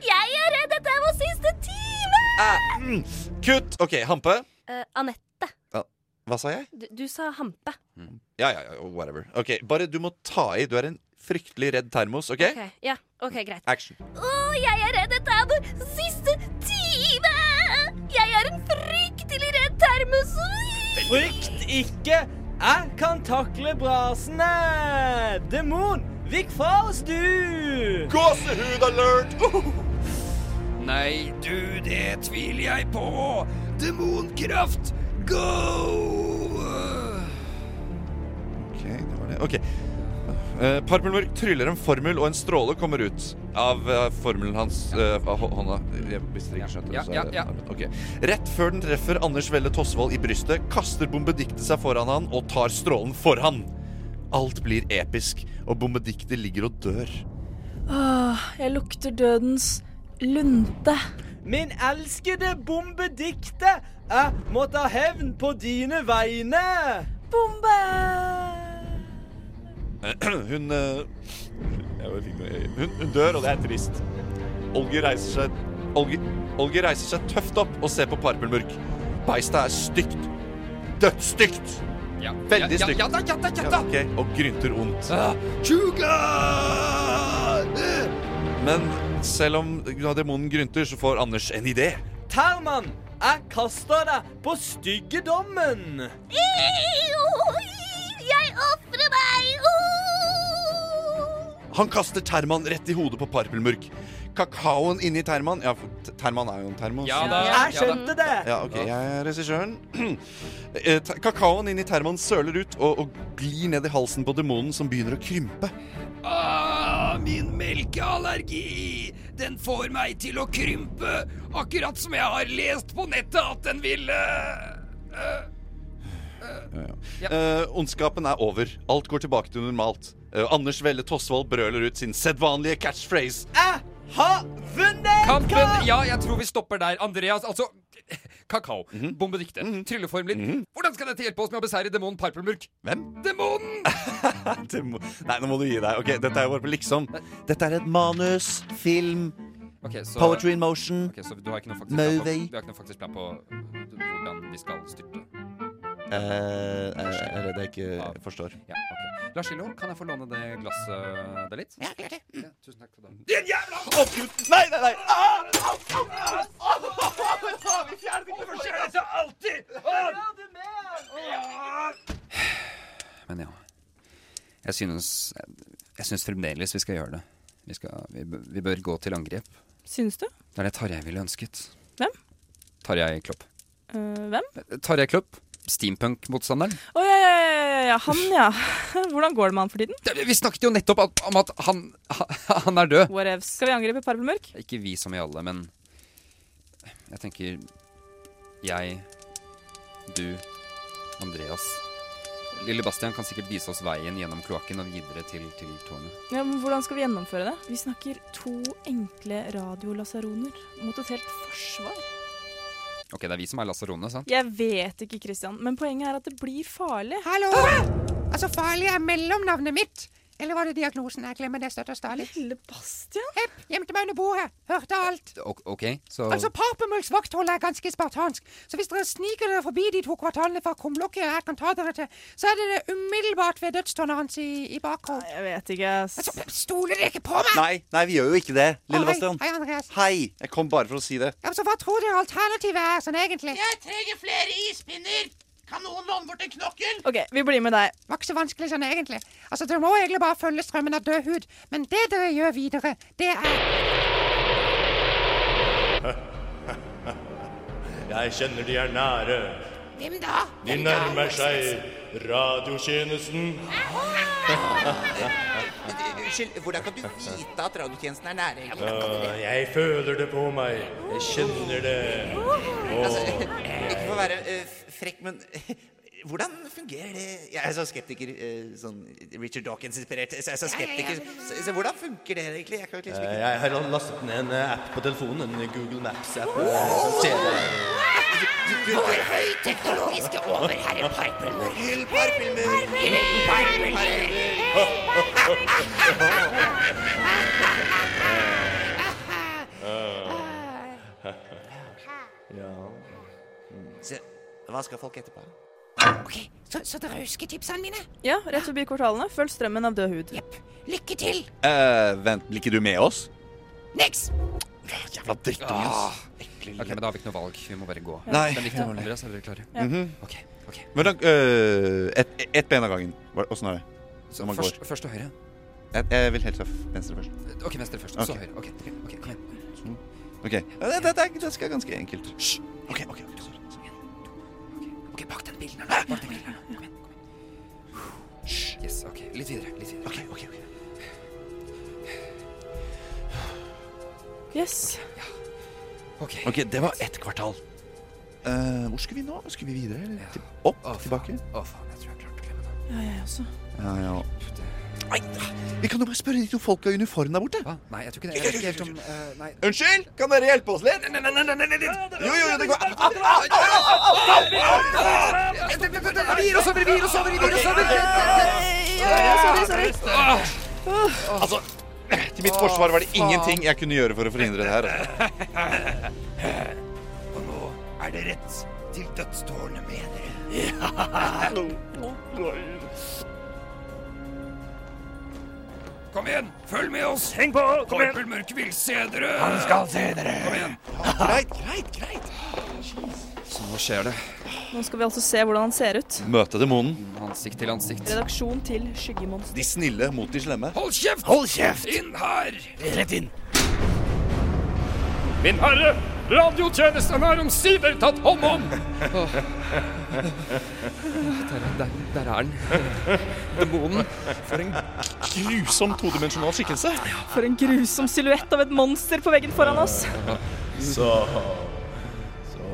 [SPEAKER 18] Jeg er redd dette er vår siste time!
[SPEAKER 6] Ah, mm. Kutt! OK, Hampe.
[SPEAKER 18] Eh, Anette,
[SPEAKER 6] Ja, hva sa jeg?
[SPEAKER 18] du, du sa hampe.
[SPEAKER 6] Ja, ja, ja, whatever. Ok, Bare du må ta i. Du er en fryktelig redd termos, OK?
[SPEAKER 18] Ok, ja, ok, greit.
[SPEAKER 6] Action.
[SPEAKER 18] Åh, jeg er redd dette er vår siste time! Jeg er en fryktelig redd termos.
[SPEAKER 7] Frykt ikke! Jeg kan takle brasene! Demon, vik fra oss, du!
[SPEAKER 6] Gåsehud alert!
[SPEAKER 17] Nei,
[SPEAKER 24] Du, det tviler jeg på! Demonkraft, go!
[SPEAKER 6] OK, det var det. Ok. Eh, Parpelmørk tryller en formel, og en stråle kommer ut av eh, formelen hans eh, av hå- hånda. Jeg- Hvis dere ikke skjønte det,
[SPEAKER 17] Ja,
[SPEAKER 6] så
[SPEAKER 17] ja,
[SPEAKER 6] er det
[SPEAKER 17] ja.
[SPEAKER 6] armen. Ok. Rett før den treffer Anders Velle Tosvold i brystet, kaster Bombedikte seg foran han og tar strålen for han. Alt blir episk, og Bombedikte ligger og dør.
[SPEAKER 8] Åh, jeg lukter dødens lunte.
[SPEAKER 7] Min elskede bombedikte, jeg må ta hevn på dine vegne! Bombe!
[SPEAKER 6] *clears throat* Hun eh, jeg bare fikk noe i øyet. hun, hun dør, og det er trist. Olger reiser seg Olger, Olger reiser seg tøft opp og ser på Parpelmurk. Beistet er stygt. Dødsstygt!
[SPEAKER 17] Ja.
[SPEAKER 6] Veldig
[SPEAKER 17] Ja, ja,
[SPEAKER 6] stygt.
[SPEAKER 17] ja da, ja da, ja da.
[SPEAKER 6] ok, Og grynter ondt.
[SPEAKER 17] Ah,
[SPEAKER 6] Men selv om ja, demonen grynter, så får Anders en idé.
[SPEAKER 7] Terman, jeg kaster deg på styggedommen!
[SPEAKER 18] Jeg offrer meg!
[SPEAKER 6] Han kaster Terman rett i hodet på Parpelmurk. Kakaoen inni Terman Ja, for T- Terman er jo en termos.
[SPEAKER 7] Ja da, Ja, jeg ja da. skjønte det.
[SPEAKER 6] Ja, ok, Jeg er regissøren. *clears throat* Eh, ta- Kakaoen inni Terman søler ut og, og glir ned i halsen på demonen, som begynner å krympe.
[SPEAKER 24] Ah, min melkeallergi! Den får meg til å krympe, akkurat som jeg har lest på nettet at den ville.
[SPEAKER 17] Eh,
[SPEAKER 6] Ja. Eh, ondskapen er over. Alt går tilbake til normalt. Eh, Anders Velle Tosvold brøler ut sin sedvanlige catchphrase. *laughs*
[SPEAKER 7] Jeg har vunnet!
[SPEAKER 17] Kampen! Ja, jeg tror vi stopper der. Andreas, altså Kakao.
[SPEAKER 6] Mhm.
[SPEAKER 17] Bombediktet. Trylleformler. Hvordan skal dette hjelpe oss med å beseire demonen Parpelmurk?
[SPEAKER 6] Hvem?
[SPEAKER 17] Demonen!
[SPEAKER 6] Det må, nei, nå må du gi deg. Ok, Dette er jo bare på liksom. Dette er et manus, film,
[SPEAKER 17] Ok, så-
[SPEAKER 6] poetry in motion,
[SPEAKER 17] Ok, så du har ikke noe faktisk plan på,
[SPEAKER 6] movie
[SPEAKER 17] du har ikke noe faktisk plan på hvordan vi skal styrte?
[SPEAKER 6] Eh, Jeg jeg er redd jeg ikke forstår.
[SPEAKER 17] Ja, ok. Lars Lillo, kan jeg få låne det glasset eh, der litt? Ja, klart det.
[SPEAKER 6] Mm.
[SPEAKER 17] tusen takk for det.
[SPEAKER 6] Din jævla Å, Gud! Nei, nei, nei! Ah! Au, au, au!
[SPEAKER 5] Hvorfor skjer dette alltid? Ah!
[SPEAKER 17] Men ja. Jeg synes, jeg synes fremdeles vi skal gjøre det. Vi, skal, vi, bør- vi bør gå til angrep.
[SPEAKER 8] Syns du?
[SPEAKER 17] Det er det Tarjei ville ønsket.
[SPEAKER 8] Hvem?
[SPEAKER 17] Tarjei Klopp.
[SPEAKER 8] Eh, hvem?
[SPEAKER 17] Tarjei Klopp, steampunk-motstanderen.
[SPEAKER 8] Å ja, ja, ja, ja, ja, han ja. *laughs* Hvordan går det med han for tiden?
[SPEAKER 17] Vi snakket jo nettopp at- om at han, han han er død.
[SPEAKER 8] Whatevs. Skal vi angripe Parpelmørk?
[SPEAKER 17] Ikke vi som i alle, men jeg tenker jeg, du, Andreas Lille Bastian kan sikkert vise oss veien gjennom kloakken og videre til, til tårnet.
[SPEAKER 8] Ja, men Hvordan skal vi gjennomføre det? Vi snakker to enkle radiolasaroner mot et helt forsvar.
[SPEAKER 17] Ok, det er vi som er Lasarone, sant?
[SPEAKER 8] Jeg vet ikke, Christian, men poenget er at det blir farlig.
[SPEAKER 4] Hallo! Altså, farlig er mellomnavnet mitt. Eller var det diagnosen? Jeg glemmer det støtt og stadig.
[SPEAKER 8] Lille Bastian?
[SPEAKER 4] Hepp, gjemte meg under bordet. Hørte alt.
[SPEAKER 17] Ok, ok, så
[SPEAKER 4] Altså, Parpemøls vakthold er ganske spartansk, så hvis dere sniker dere forbi de to kvartalene fra kumlokket jeg kan ta dere til, så er dere umiddelbart ved dødstårnet hans i, i bakhold.
[SPEAKER 8] Jeg vet ikke.
[SPEAKER 4] Altså, stoler dere ikke på meg?
[SPEAKER 6] Nei, nei, vi gjør jo ikke det, lille
[SPEAKER 4] Å, hei.
[SPEAKER 6] Bastian.
[SPEAKER 4] Hei, Andreas.
[SPEAKER 6] Hei! Jeg kom bare for å si det.
[SPEAKER 4] Altså, hva tror dere alternativet er sånn egentlig?
[SPEAKER 1] Jeg trenger flere ispinner! Kan noen låne bort en knokkel?
[SPEAKER 8] OK, vi blir med deg.
[SPEAKER 4] Det var ikke så vanskelig sånn egentlig. Altså, Dere må egentlig bare følge strømmen av død hud. Men det dere gjør videre, det er
[SPEAKER 19] Jeg kjenner de er nære.
[SPEAKER 4] Hvem da?
[SPEAKER 19] De nærmer seg radiotjenesten.
[SPEAKER 20] Unnskyld, hvordan kan du vite at radiotjenesten er nære? egentlig?
[SPEAKER 19] Ah, jeg føler det på meg. Jeg kjenner det.
[SPEAKER 20] Altså, *laughs*
[SPEAKER 19] Åh.
[SPEAKER 20] ikke for å være eh, f- frekk,
[SPEAKER 17] *laughs*
[SPEAKER 20] men hvordan fungerer det Jeg
[SPEAKER 17] altså,
[SPEAKER 20] er så skeptiker, eh, sånn Richard Dawkins-inspirert, så jeg er så
[SPEAKER 1] Ja, ja, ja.
[SPEAKER 20] skeptiker. Så, så hvordan funker det egentlig? Jeg kan
[SPEAKER 1] Eh,
[SPEAKER 20] liksom ikke
[SPEAKER 1] Jeg har lastet ned en eh, app på telefonen, en Google eh, Maps-app.
[SPEAKER 20] Vår
[SPEAKER 1] Eh. høyteknologiske overherre Parpelmurk.
[SPEAKER 20] Ja. Så, hva skal folk etterpå?
[SPEAKER 4] Så, så dere husker tipsene mine?
[SPEAKER 8] Ja, rett forbi kvartalene. Følg strømmen av død hud. Jepp.
[SPEAKER 4] Lykke til!
[SPEAKER 6] Eh, vent, blir ikke du med oss? Ah,
[SPEAKER 4] Niks!
[SPEAKER 6] Jævla drittunge,
[SPEAKER 17] Ah,
[SPEAKER 6] ass.
[SPEAKER 17] Ok, men da har vi ikke noe valg. Vi må bare gå.
[SPEAKER 6] Nei.
[SPEAKER 17] Det er likt mål, Andreas. Er dere klare?
[SPEAKER 6] Mhm.
[SPEAKER 17] Ok, ok.
[SPEAKER 6] Men da øh, Ett et ben av gangen. Hva- Åssen er det? Når man
[SPEAKER 17] Først,
[SPEAKER 6] går.
[SPEAKER 17] først og høyre.
[SPEAKER 6] Jeg, jeg vil helst ha venstre først.
[SPEAKER 17] Ok, venstre først,
[SPEAKER 6] Ok.
[SPEAKER 17] så høyre. Ok, ok, kom igjen.
[SPEAKER 6] Ok. Ja, Det, det, det, er- det skal ganske enkelt. Hysj! Ok, ok.
[SPEAKER 17] Ok, bak den bilen her. nå. Bak den bilen her. nå. Kom igjen, kom igjen. Hysj, Yes, ok. Litt videre, litt videre. Ok, ok, ok.
[SPEAKER 8] Yes.
[SPEAKER 6] Ok, det var ett kvartal. Eh, hvor skal vi nå? Skal vi videre? Eller? Til, opp? tilbake?
[SPEAKER 8] Ja, jeg også.
[SPEAKER 6] Ja, ja. Nei, vi kan jo bare spørre de to folka i uniform der borte.
[SPEAKER 17] Nei, jeg tror ikke det. Jeg vet ikke helt om... eh, nei.
[SPEAKER 6] Unnskyld, kan dere hjelpe oss litt? Jo, jo, jo, det går Au, au, au, au, au, au!
[SPEAKER 24] Vi gir oss over, vi gir oss over, vi gir oss over!
[SPEAKER 8] Sorry, sorry.
[SPEAKER 6] Altså, til mitt forsvar var det ingenting jeg kunne gjøre for å forhindre det her. altså.
[SPEAKER 17] *laughs*
[SPEAKER 24] Og nå er det rett til dødstårnet med dere.
[SPEAKER 5] Kom igjen, følg med oss! Heng på! Kom igjen! Mørk vil se dere!
[SPEAKER 24] Han skal se dere!
[SPEAKER 5] Kom igjen!
[SPEAKER 6] Greit, greit, greit.
[SPEAKER 17] Så nå skjer det.
[SPEAKER 8] Nå skal vi altså se hvordan han ser ut.
[SPEAKER 6] Møte demonen.
[SPEAKER 17] Ansikt til ansikt.
[SPEAKER 8] Redaksjon til Skyggemonster.
[SPEAKER 6] De snille mot de slemme.
[SPEAKER 5] Hold kjeft!
[SPEAKER 6] Hold kjeft!
[SPEAKER 5] Inn her!
[SPEAKER 6] Rett inn.
[SPEAKER 5] Min herre, radiotjenesten er omsider tatt hånd om!
[SPEAKER 17] Der, er- der, der er den. Demonen. For en
[SPEAKER 6] grusom todimensjonal skikkelse.
[SPEAKER 8] For en grusom silhuett av et monster på veggen foran oss.
[SPEAKER 19] Så Så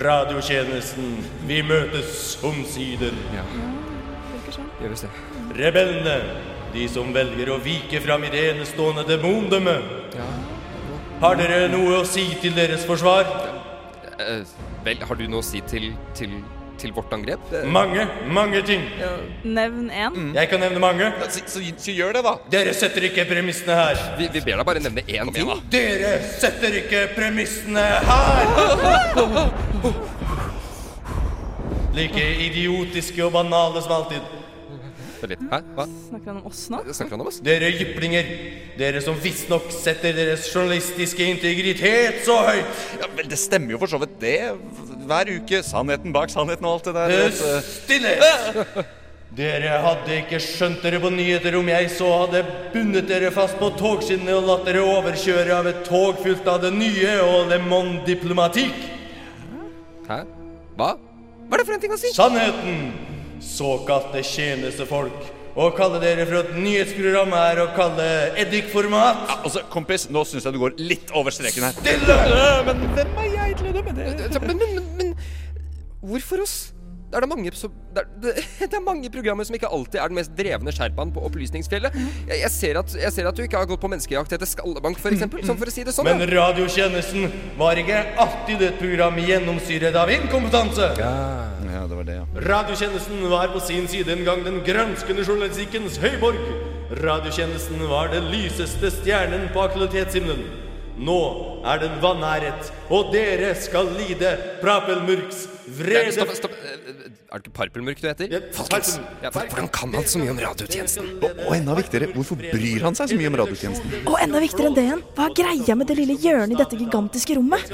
[SPEAKER 19] Radiotjenesten, vi møtes omsider.
[SPEAKER 8] Virker sånn.
[SPEAKER 17] Gjør visst det.
[SPEAKER 19] Rebellene, de som velger å vike fram i det enestående demondømme.
[SPEAKER 17] Ja.
[SPEAKER 19] Har dere noe å si til deres forsvar?
[SPEAKER 17] Eh, vel, har du noe å si til, til, til vårt angrep?
[SPEAKER 19] Mange, mange ting.
[SPEAKER 8] Nevn én.
[SPEAKER 19] Jeg kan nevne mange.
[SPEAKER 6] så, gjør det, da.
[SPEAKER 19] Dere setter ikke premissene her.
[SPEAKER 17] Vi, ber deg bare nevne én ting.
[SPEAKER 19] Dere setter ikke premissene her! Like idiotiske og banale som alltid.
[SPEAKER 17] Hæ? Hva?
[SPEAKER 8] Snakker han om oss nå?
[SPEAKER 17] Snakker han om oss?
[SPEAKER 19] Dere jyplinger. Dere som visstnok setter deres journalistiske integritet så høyt.
[SPEAKER 6] Ja, vel, det stemmer jo for så vidt det. Hver uke. Sannheten bak sannheten og alt det der.
[SPEAKER 19] Eh,
[SPEAKER 6] vet du. *laughs*
[SPEAKER 19] Stillhet! Dere hadde ikke skjønt dere på nyheter om jeg så hadde bundet dere fast på togskinnene og latt dere overkjøre av et tog fylt av det nye og lemon-diplomatikk.
[SPEAKER 17] Hæ? Hva? Hva er det for en ting å si?
[SPEAKER 19] Sannheten! Såkalte tjenestefolk. Å kalle dere for et nyhetsprogram er å kalle eddikformat.
[SPEAKER 6] Ja, altså, kompis, nå syns jeg du går litt over streken her.
[SPEAKER 19] Stille!
[SPEAKER 6] Eh, Men hvem er jeg til å dømme det?
[SPEAKER 17] Men, men, men, men hvorfor oss? Det er, da mange, som- det, er, det, *laughs* det er mange programmer som ikke alltid er den mest drevne sherpaen på opplysningsfjellet. Jeg, jeg, ser at, jeg ser at du ikke har gått på menneskejakt etter Skallebank, f.eks. Sånn for å si det sånn.
[SPEAKER 19] Men
[SPEAKER 17] da.
[SPEAKER 19] radiotjenesten var ikke alltid et program gjennomsyret av inkompetanse.
[SPEAKER 6] Ja, det var det, ja.
[SPEAKER 19] Radiotjenesten var på sin side en gang den granskende journalistikkens høyborg. Radiotjenesten var den lyseste stjernen på aktualitetshimmelen. Nå er den vanæret, og dere skal lide Prapelmurks vrede
[SPEAKER 17] Stopp, stopp. Er det ikke Parpelmurk du heter? Folkens, ja, hvordan kan han så mye om radiotjenesten?
[SPEAKER 6] Og enda viktigere, hvorfor bryr han seg så mye om radiotjenesten?
[SPEAKER 8] Og enda viktigere enn det igjen, hva er greia med det lille hjørnet i dette gigantiske rommet?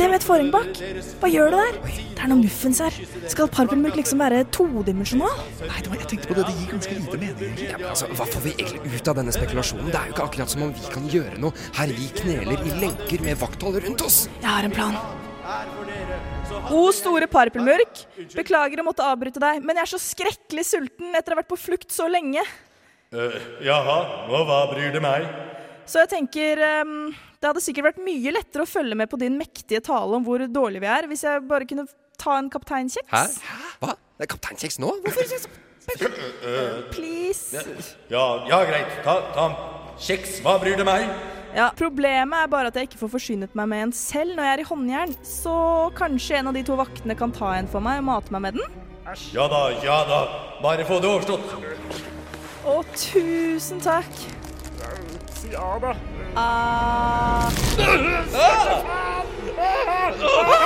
[SPEAKER 8] Det med et forheng bak. Hva gjør det der? Det er noe muffens her. Skal Parpelmurk liksom være todimensjonal?
[SPEAKER 6] Nei, det var, jeg tenkte på det. Det gir ganske lite mening.
[SPEAKER 17] Ja, men altså, Hva får vi egentlig ut av denne spekulasjonen? Det er jo ikke akkurat som om vi kan gjøre noe her vi kneler i lenker med vakthold rundt oss.
[SPEAKER 8] Jeg har en plan. O store Parpelmurk, beklager å måtte avbryte deg, men jeg er så skrekkelig sulten etter å ha vært på flukt så lenge.
[SPEAKER 19] Eh, jaha, og hva bryr det meg?
[SPEAKER 8] Så jeg tenker ehm, det hadde sikkert vært mye lettere å følge med på din mektige tale om hvor dårlige vi er, hvis jeg bare kunne ta en kapteinkjeks.
[SPEAKER 17] Hæ? Hva? Det er kapteinkjeks nå? Hvorfor?
[SPEAKER 8] Please.
[SPEAKER 19] Eh, Ja, ja, greit. Ta, ta kjeks. Hva bryr det meg?
[SPEAKER 8] Ja, Problemet er bare at jeg ikke får forsynet meg med en selv når jeg er i håndjern, så kanskje en av de to vaktene kan ta en for meg og mate meg med den?
[SPEAKER 19] Ja da, ja da. Bare få det overstått.
[SPEAKER 8] Å, tusen takk.
[SPEAKER 9] Ja da.
[SPEAKER 8] Ah.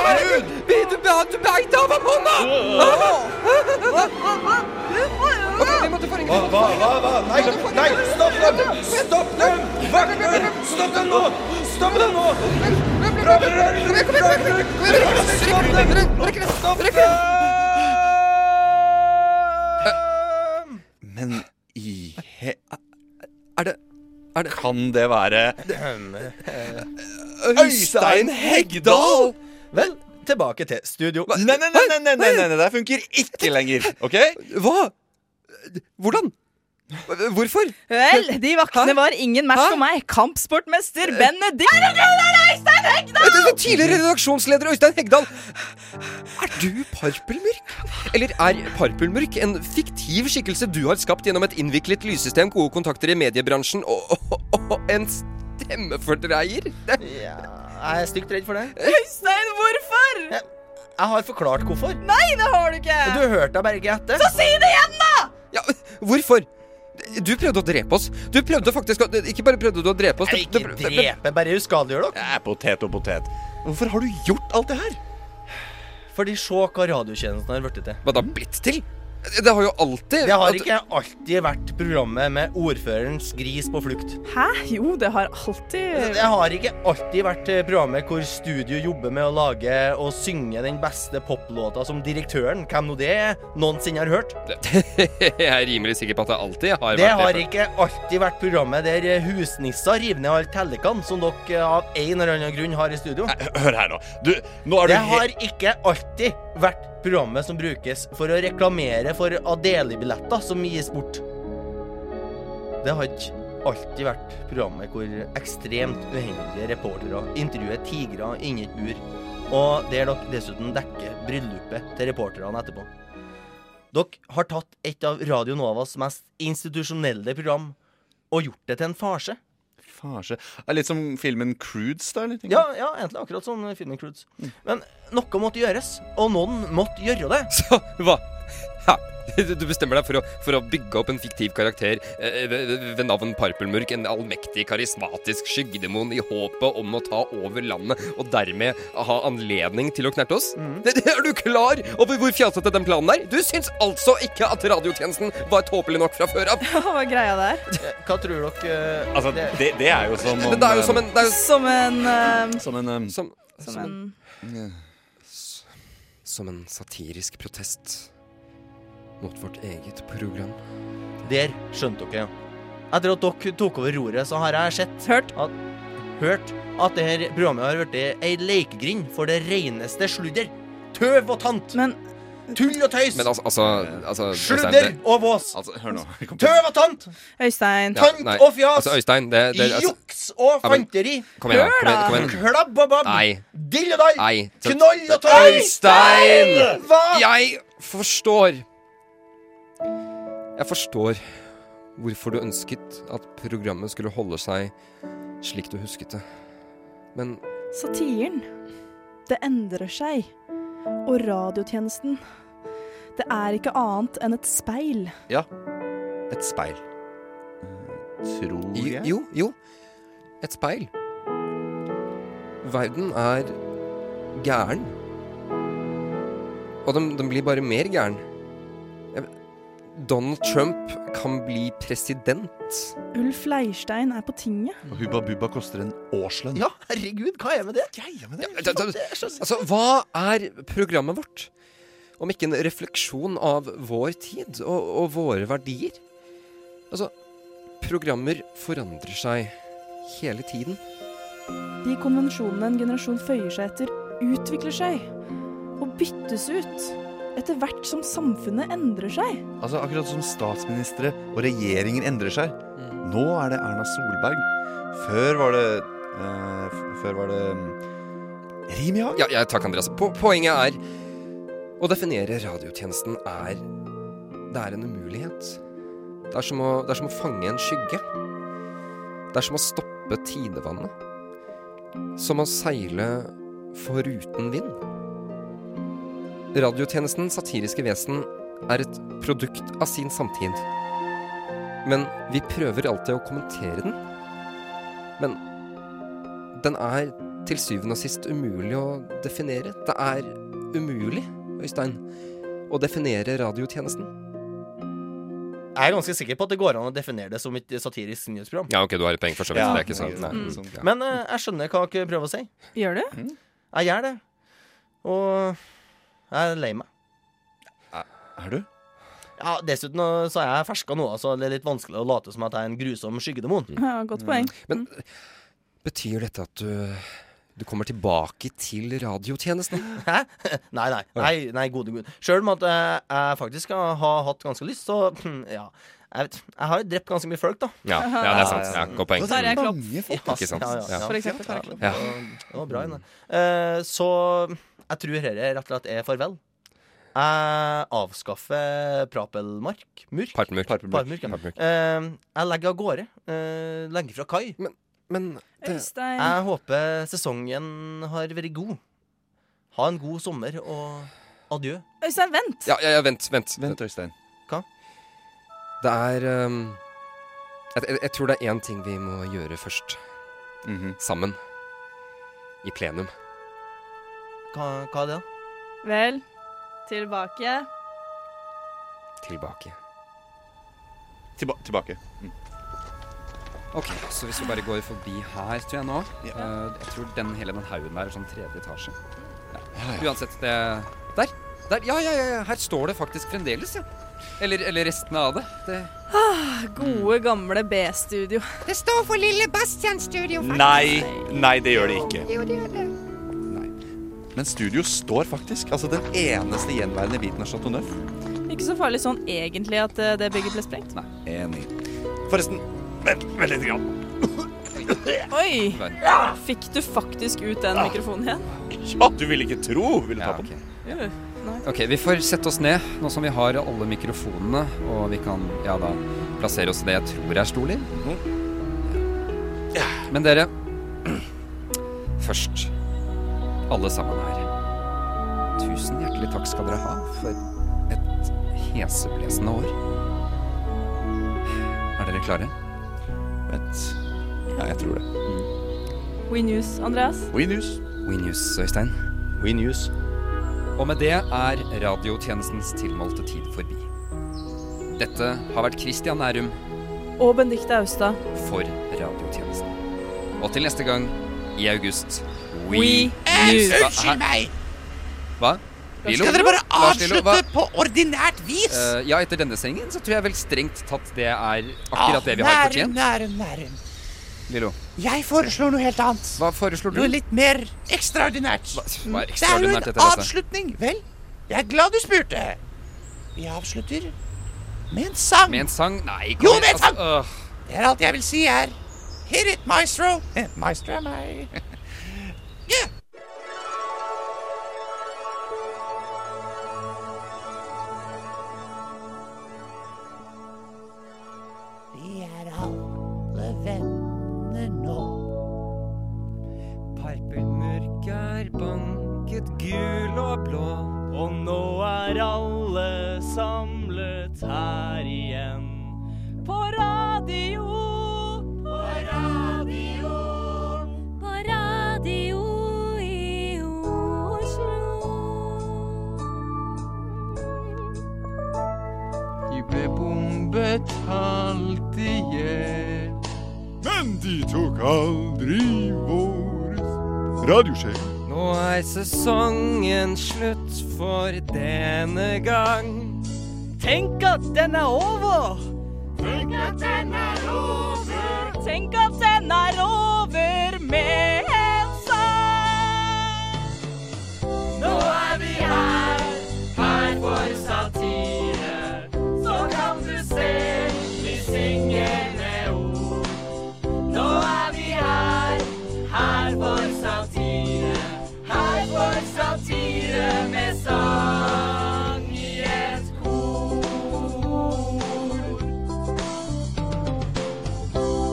[SPEAKER 9] Herregud!
[SPEAKER 17] Du beit av ham hånda!
[SPEAKER 9] Ok, vi måtte få
[SPEAKER 19] Hva, hva, hva? hva? Nei, nei, stopp dem! Stopp dem! Vakter! Stopp dem nå! Stopp dem nå!
[SPEAKER 9] Stopp dem! Stopp dem!
[SPEAKER 6] Men i he...
[SPEAKER 17] Er det Er det
[SPEAKER 6] Kan det være
[SPEAKER 7] Øystein Heggdal! Vel, tilbake til studio.
[SPEAKER 6] Nei, nei, nei, nei, nei, nei, nei, nei, det funker ikke lenger. OK?
[SPEAKER 17] Hva? Hvordan? Hvorfor?
[SPEAKER 8] Vel, de vaktene var ingen match for meg. Kampsportmester Benedikt Herregud, det er Øystein Hegdal!
[SPEAKER 17] Den tidligere redaksjonsleder Øystein Hegdal! Er du Parpelmurk? Eller er Parpelmurk en fiktiv skikkelse du har skapt gjennom et innviklet lyssystem, gode kontakter i mediebransjen og, og, og, og en stemmefordreier?
[SPEAKER 7] Ja, jeg er stygt redd for det.
[SPEAKER 8] Øystein, hvorfor?
[SPEAKER 7] Jeg har forklart hvorfor.
[SPEAKER 8] Nei, det har du ikke!
[SPEAKER 7] Du hørte meg bare ikke etter.
[SPEAKER 8] Så si det igjen, da!
[SPEAKER 17] Hvorfor? Du prøvde å drepe oss. Du prøvde faktisk å Ikke bare prøvde du å drepe oss du- du- du-
[SPEAKER 7] Drepe, bare uskadeliggjør dere.
[SPEAKER 6] Ja, potet og potet. Hvorfor har du gjort alt det her?
[SPEAKER 7] Fordi se hva radiotjenesten har blitt til.
[SPEAKER 17] Hva da blitt til? Det har jo alltid
[SPEAKER 7] Det har
[SPEAKER 17] at-
[SPEAKER 7] ikke alltid vært programmet med ordførerens gris på flukt.
[SPEAKER 8] Hæ? Jo, det har alltid
[SPEAKER 7] Det har ikke alltid vært eh, programmet hvor studio jobber med å lage og synge den beste poplåta som direktøren, hvem nå det er, noensinne har hørt.
[SPEAKER 17] *laughs* Jeg er rimelig sikker på at det alltid har
[SPEAKER 7] Det
[SPEAKER 17] vært
[SPEAKER 7] har
[SPEAKER 17] før.
[SPEAKER 7] ikke alltid vært programmet der eh, husnisser river ned alle tellekene som dere eh, av en eller annen grunn har i studio.
[SPEAKER 6] Hør her nå. Du, nå er du
[SPEAKER 7] Det
[SPEAKER 6] he-
[SPEAKER 7] har ikke alltid vært programmet som brukes for å reklamere for Adeli-billetter som gis bort. Det har ikke alltid vært programmet hvor ekstremt uheldige reportere intervjuer tigre inni et bur, og der dere dessuten dekker bryllupet til reporterne etterpå. Dere har tatt et av Radio Novas mest institusjonelle program og gjort det til en farse.
[SPEAKER 6] Farse. Er Litt som filmen Crudes, da? Eller? Mm.
[SPEAKER 7] Ja, ja, egentlig akkurat sånn filmen Crudes. Men noe måtte gjøres, og noen måtte gjøre det.
[SPEAKER 17] Så hva? Ja, du du bestemmer deg for å, for å bygge opp en fiktiv karakter eh, ved ved navn Parpelmurk, en allmektig, karismatisk skyggedemon i håpet om å ta over landet og dermed ha anledning til å knerte oss?
[SPEAKER 7] Mm.
[SPEAKER 17] Det- det- *laughs* Er du klar over hvor fjasete den planen er? Du syns altså ikke at radiotjenesten var tåpelig nok fra før av?
[SPEAKER 8] *laughs* Hva er greia der?
[SPEAKER 7] Hva tror dere eh,
[SPEAKER 5] Altså, det, det er jo som
[SPEAKER 17] Men det er jo som en det er jo...
[SPEAKER 8] Som en eh,
[SPEAKER 5] Som en um,
[SPEAKER 17] Som,
[SPEAKER 8] Som en
[SPEAKER 17] S- Som en satirisk protest mot vårt eget program.
[SPEAKER 7] Der skjønte dere. Etter at dere tok over roret, så har jeg sett
[SPEAKER 8] Hørt
[SPEAKER 7] at, hørt at det her programmet har blitt ei lekegrind for det reneste sludder. Tøv og tant. Tull og tøys.
[SPEAKER 17] Men altså, altså, altså Øystein,
[SPEAKER 7] Sludder
[SPEAKER 17] det-
[SPEAKER 7] og vås.
[SPEAKER 6] Altså, hør nå.
[SPEAKER 7] Tøv og tant.
[SPEAKER 8] Øystein.
[SPEAKER 17] Ja, nei, Altså, Øystein, det, det altså,
[SPEAKER 7] Juks og
[SPEAKER 17] Ja, men-
[SPEAKER 7] fanteri.
[SPEAKER 17] Kom igjen, da, kom igjen, kom igjen.
[SPEAKER 7] Klabb og babb.
[SPEAKER 17] Nei.
[SPEAKER 7] Dill og dall.
[SPEAKER 17] Nei. så-
[SPEAKER 7] Knoll og tall.
[SPEAKER 17] Øystein!
[SPEAKER 7] Hva?
[SPEAKER 17] Jeg forstår. Jeg forstår hvorfor du ønsket at programmet skulle holde seg slik du husket det. Men
[SPEAKER 8] Satiren, det endrer seg. Og radiotjenesten, det er ikke annet enn et speil.
[SPEAKER 6] Ja. Et speil. Tror
[SPEAKER 17] Jo,
[SPEAKER 6] jeg.
[SPEAKER 17] jo, jo. Et speil. Verden er gæren. Og den, den blir bare mer gæren. Jeg- Donald Trump kan bli president.
[SPEAKER 8] Ulf Leirstein er på tinget.
[SPEAKER 6] Og Hubba Bubba koster en årslønn.
[SPEAKER 7] Ja, herregud, hva er med det?
[SPEAKER 6] Greia med det?
[SPEAKER 17] Ja, da- da- Altså, hva er programmet vårt? Om ikke en refleksjon av vår tid og, og våre verdier? Altså, programmer forandrer seg hele tiden.
[SPEAKER 8] De konvensjonene en generasjon føyer seg etter, utvikler seg og byttes ut etter hvert som samfunnet endrer seg.
[SPEAKER 6] Altså, akkurat som statsministre og regjeringer endrer seg. Nå er det Erna Solberg. Før var det eh, f- Før var det mm, Rimi-Hagen.
[SPEAKER 17] Ja, ja, takk, Andreas. Po poenget er Å definere radiotjenesten er Det er en umulighet. Det er, som å, det er som å fange en skygge. Det er som å stoppe tidevannet. Som å seile foruten vind. Radiotjenestens satiriske vesen er et produkt av sin samtid. Men vi prøver alltid å kommentere den. Men den er til syvende og sist umulig å definere. Det er umulig, Øystein, å definere radiotjenesten.
[SPEAKER 7] Jeg er ganske sikker på at det går an å definere det som et satirisk nyhetsprogram.
[SPEAKER 17] Ja, ok, du har et poeng for så vidt.
[SPEAKER 7] Ja.
[SPEAKER 17] det er ikke sånn. Nei.
[SPEAKER 7] Mm.
[SPEAKER 17] Ja.
[SPEAKER 7] Men eh, jeg skjønner hva dere prøver å si. Mm.
[SPEAKER 8] Gjør du?
[SPEAKER 7] Jeg gjør det. Og jeg er lei meg.
[SPEAKER 6] Er du?
[SPEAKER 7] Ja, Dessuten eh, så er jeg ferska nå, så det er litt vanskelig å late som at jeg er en grusom skyggedemon.
[SPEAKER 8] Ja, godt poeng.
[SPEAKER 17] Mm. Men eh, betyr dette at eh, du, du kommer tilbake til radiotjenesten?
[SPEAKER 7] *laughs* Hæ? Nei, nei. nei, nei gode gud. Sjøl om at jeg, jeg faktisk har har hatt ganske lyst, så *clears throat* ja. Jeg, vet, jeg har jo drept ganske mye folk, da.
[SPEAKER 17] Ja, ja, det er sant. Ja, godt poeng. Og så er jeg klopp.
[SPEAKER 7] Ja,
[SPEAKER 17] Ikke sant?
[SPEAKER 7] Ja, ja,
[SPEAKER 17] Ja.
[SPEAKER 7] ja.
[SPEAKER 17] For eksempel,
[SPEAKER 7] Ja,
[SPEAKER 17] for
[SPEAKER 7] ja.
[SPEAKER 17] eksempel.
[SPEAKER 7] Det var bra, Ine. Eh, så jeg tror dette rett og slett er farvel. Jeg avskaffer Prapelmark. Murk.
[SPEAKER 17] Parpelmurk.
[SPEAKER 7] Parpelmurk, ja.
[SPEAKER 17] Parpelmurk.
[SPEAKER 7] Eh, jeg legger av gårde. eh, legger fra kai.
[SPEAKER 17] Men, men eh,
[SPEAKER 8] Øystein.
[SPEAKER 7] Jeg håper sesongen har vært god. Ha en god sommer, og adjø.
[SPEAKER 8] Øystein, vent!
[SPEAKER 17] Ja, ja, ja vent, vent.
[SPEAKER 6] Vent, Øystein.
[SPEAKER 7] Hva?
[SPEAKER 17] Det er ehm, jeg, jeg, jeg tror det er én ting vi må gjøre først.
[SPEAKER 6] Mhm.
[SPEAKER 17] Sammen. I plenum.
[SPEAKER 7] Hva, hva er det, da?
[SPEAKER 8] Vel, tilbake.
[SPEAKER 17] Tilbake.
[SPEAKER 6] Tilba tilbake. Mm.
[SPEAKER 3] Ok, så hvis vi bare går forbi her, tror jeg nå eh, Jeg tror den hele den haugen der er sånn tredje etasje. Ja. Uansett, det Der! der. Ja, ja, ja, ja, her står det faktisk fremdeles, ja. Eller, eller restene av det. det.
[SPEAKER 8] Ah, gode, gamle B-studio.
[SPEAKER 4] Det står for Lille Bastian Studio. faktisk.
[SPEAKER 6] Nei, nei, det gjør det ikke.
[SPEAKER 4] Jo, det gjør det.
[SPEAKER 6] Men studio står faktisk. Altså den eneste gjenværende biten av Chateau Neuf.
[SPEAKER 8] Ikke så farlig sånn egentlig at eh, det bygget ble sprengt.
[SPEAKER 6] Enig. Forresten, vent, vent litt. Grann.
[SPEAKER 8] Oi!
[SPEAKER 6] Nei.
[SPEAKER 8] Fikk du faktisk ut den mikrofonen igjen?
[SPEAKER 6] Ja, du ville ikke tro! Ville ta på
[SPEAKER 3] den.
[SPEAKER 8] Ja. Nei.
[SPEAKER 3] Ok, vi får sette oss ned, nå som vi har alle mikrofonene,
[SPEAKER 17] Hm?
[SPEAKER 3] og vi kan, ja da, plassere oss i det jeg tror er stoler.
[SPEAKER 17] Men dere *clears throat* Først, alle sammen her. Tusen hjertelig takk skal dere ha for et heseblesende år. Er dere klare? Mm.
[SPEAKER 25] Vent. Ja, jeg tror det.
[SPEAKER 8] We News, Andreas.
[SPEAKER 25] We News.
[SPEAKER 17] We News, Øystein.
[SPEAKER 26] We News.
[SPEAKER 17] Og med det er radiotjenestens tilmålte tid forbi. Dette har vært Christian Nærum
[SPEAKER 8] Og Benedicte Austad.
[SPEAKER 17] for radiotjenesten. Og til neste gang, i august
[SPEAKER 20] We News. Unnskyld meg.
[SPEAKER 17] Hva? Lilo?
[SPEAKER 20] Skal dere bare
[SPEAKER 17] Lars Lilo, hva?
[SPEAKER 20] avslutte på ordinært vis?
[SPEAKER 17] Eh, ja, etter denne sendingen så tror jeg vel strengt tatt det er akkurat det vi har fortjent.
[SPEAKER 20] Nærum, nærum, nærum.
[SPEAKER 17] Lilo.
[SPEAKER 20] Jeg foreslår noe helt annet.
[SPEAKER 17] Hva foreslår du?
[SPEAKER 20] Noe litt mer ekstraordinært.
[SPEAKER 17] hva er ekstraordinært
[SPEAKER 20] det
[SPEAKER 17] etter dette?
[SPEAKER 20] er jo en avslutning. Vel, jeg er glad du spurte. Vi avslutter med en sang.
[SPEAKER 17] Med en sang? Nei,
[SPEAKER 20] Jo,
[SPEAKER 17] igjen,
[SPEAKER 20] med en sang!
[SPEAKER 17] altså, øh.
[SPEAKER 20] Det er alt jeg vil si her. Hit it, maestro. *laughs* Eh, Maestro er meg.
[SPEAKER 17] *laughs*
[SPEAKER 20] Vi er alle venner nå.
[SPEAKER 12] Parpelmørk er banket gul og blå. Og nå er alle samlet her igjen.
[SPEAKER 9] På radio. På radio. På radio i Oslo.
[SPEAKER 27] De ble bombet halvt i hjel.
[SPEAKER 13] Men de tok aldri vår radiosjef.
[SPEAKER 12] Nå er sesongen slutt for denne gang. Tenk at den er over!
[SPEAKER 9] Tenk at den er over. Tenk at den er over med en sang. Nå er vi her, her for satire. Så kan du se vi syngende ord. Nå er vi her, her for satire. Her for satire med sang i et kor.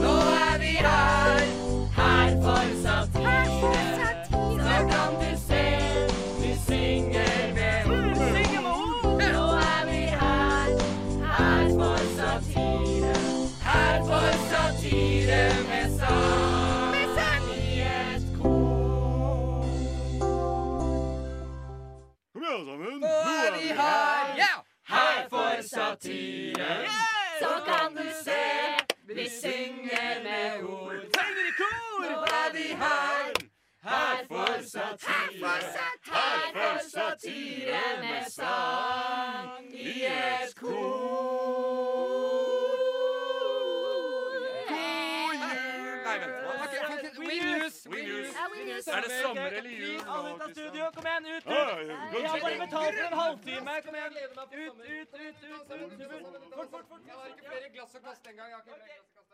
[SPEAKER 9] Nå er vi her, her for satire. Så kan du se, vi synger med ord. Nå er vi her, her for satire. Her for satire med sang i et
[SPEAKER 13] Kom igjen, alle sammen.
[SPEAKER 9] Nå er vi her, her for
[SPEAKER 13] Yeah!
[SPEAKER 9] satire. Så kan du se, vi synger med ord. Nå er vi her, her for satire. Her for satire med sang i et kor. God jul! Nei, vent.
[SPEAKER 12] We news! We news!
[SPEAKER 9] Er det sommer eller jul?
[SPEAKER 12] Alle ut av studio, kom igjen, ut!
[SPEAKER 9] Ja, ja, ja.
[SPEAKER 12] ut. Vi har bare betalt for en halvtime, kom igjen! Ut, ut, ut, ut! ut, ut. Fort, fort, fort!
[SPEAKER 17] Jeg har ikke flere glass og glass den gang. Jeg har ikke flere glass og glass.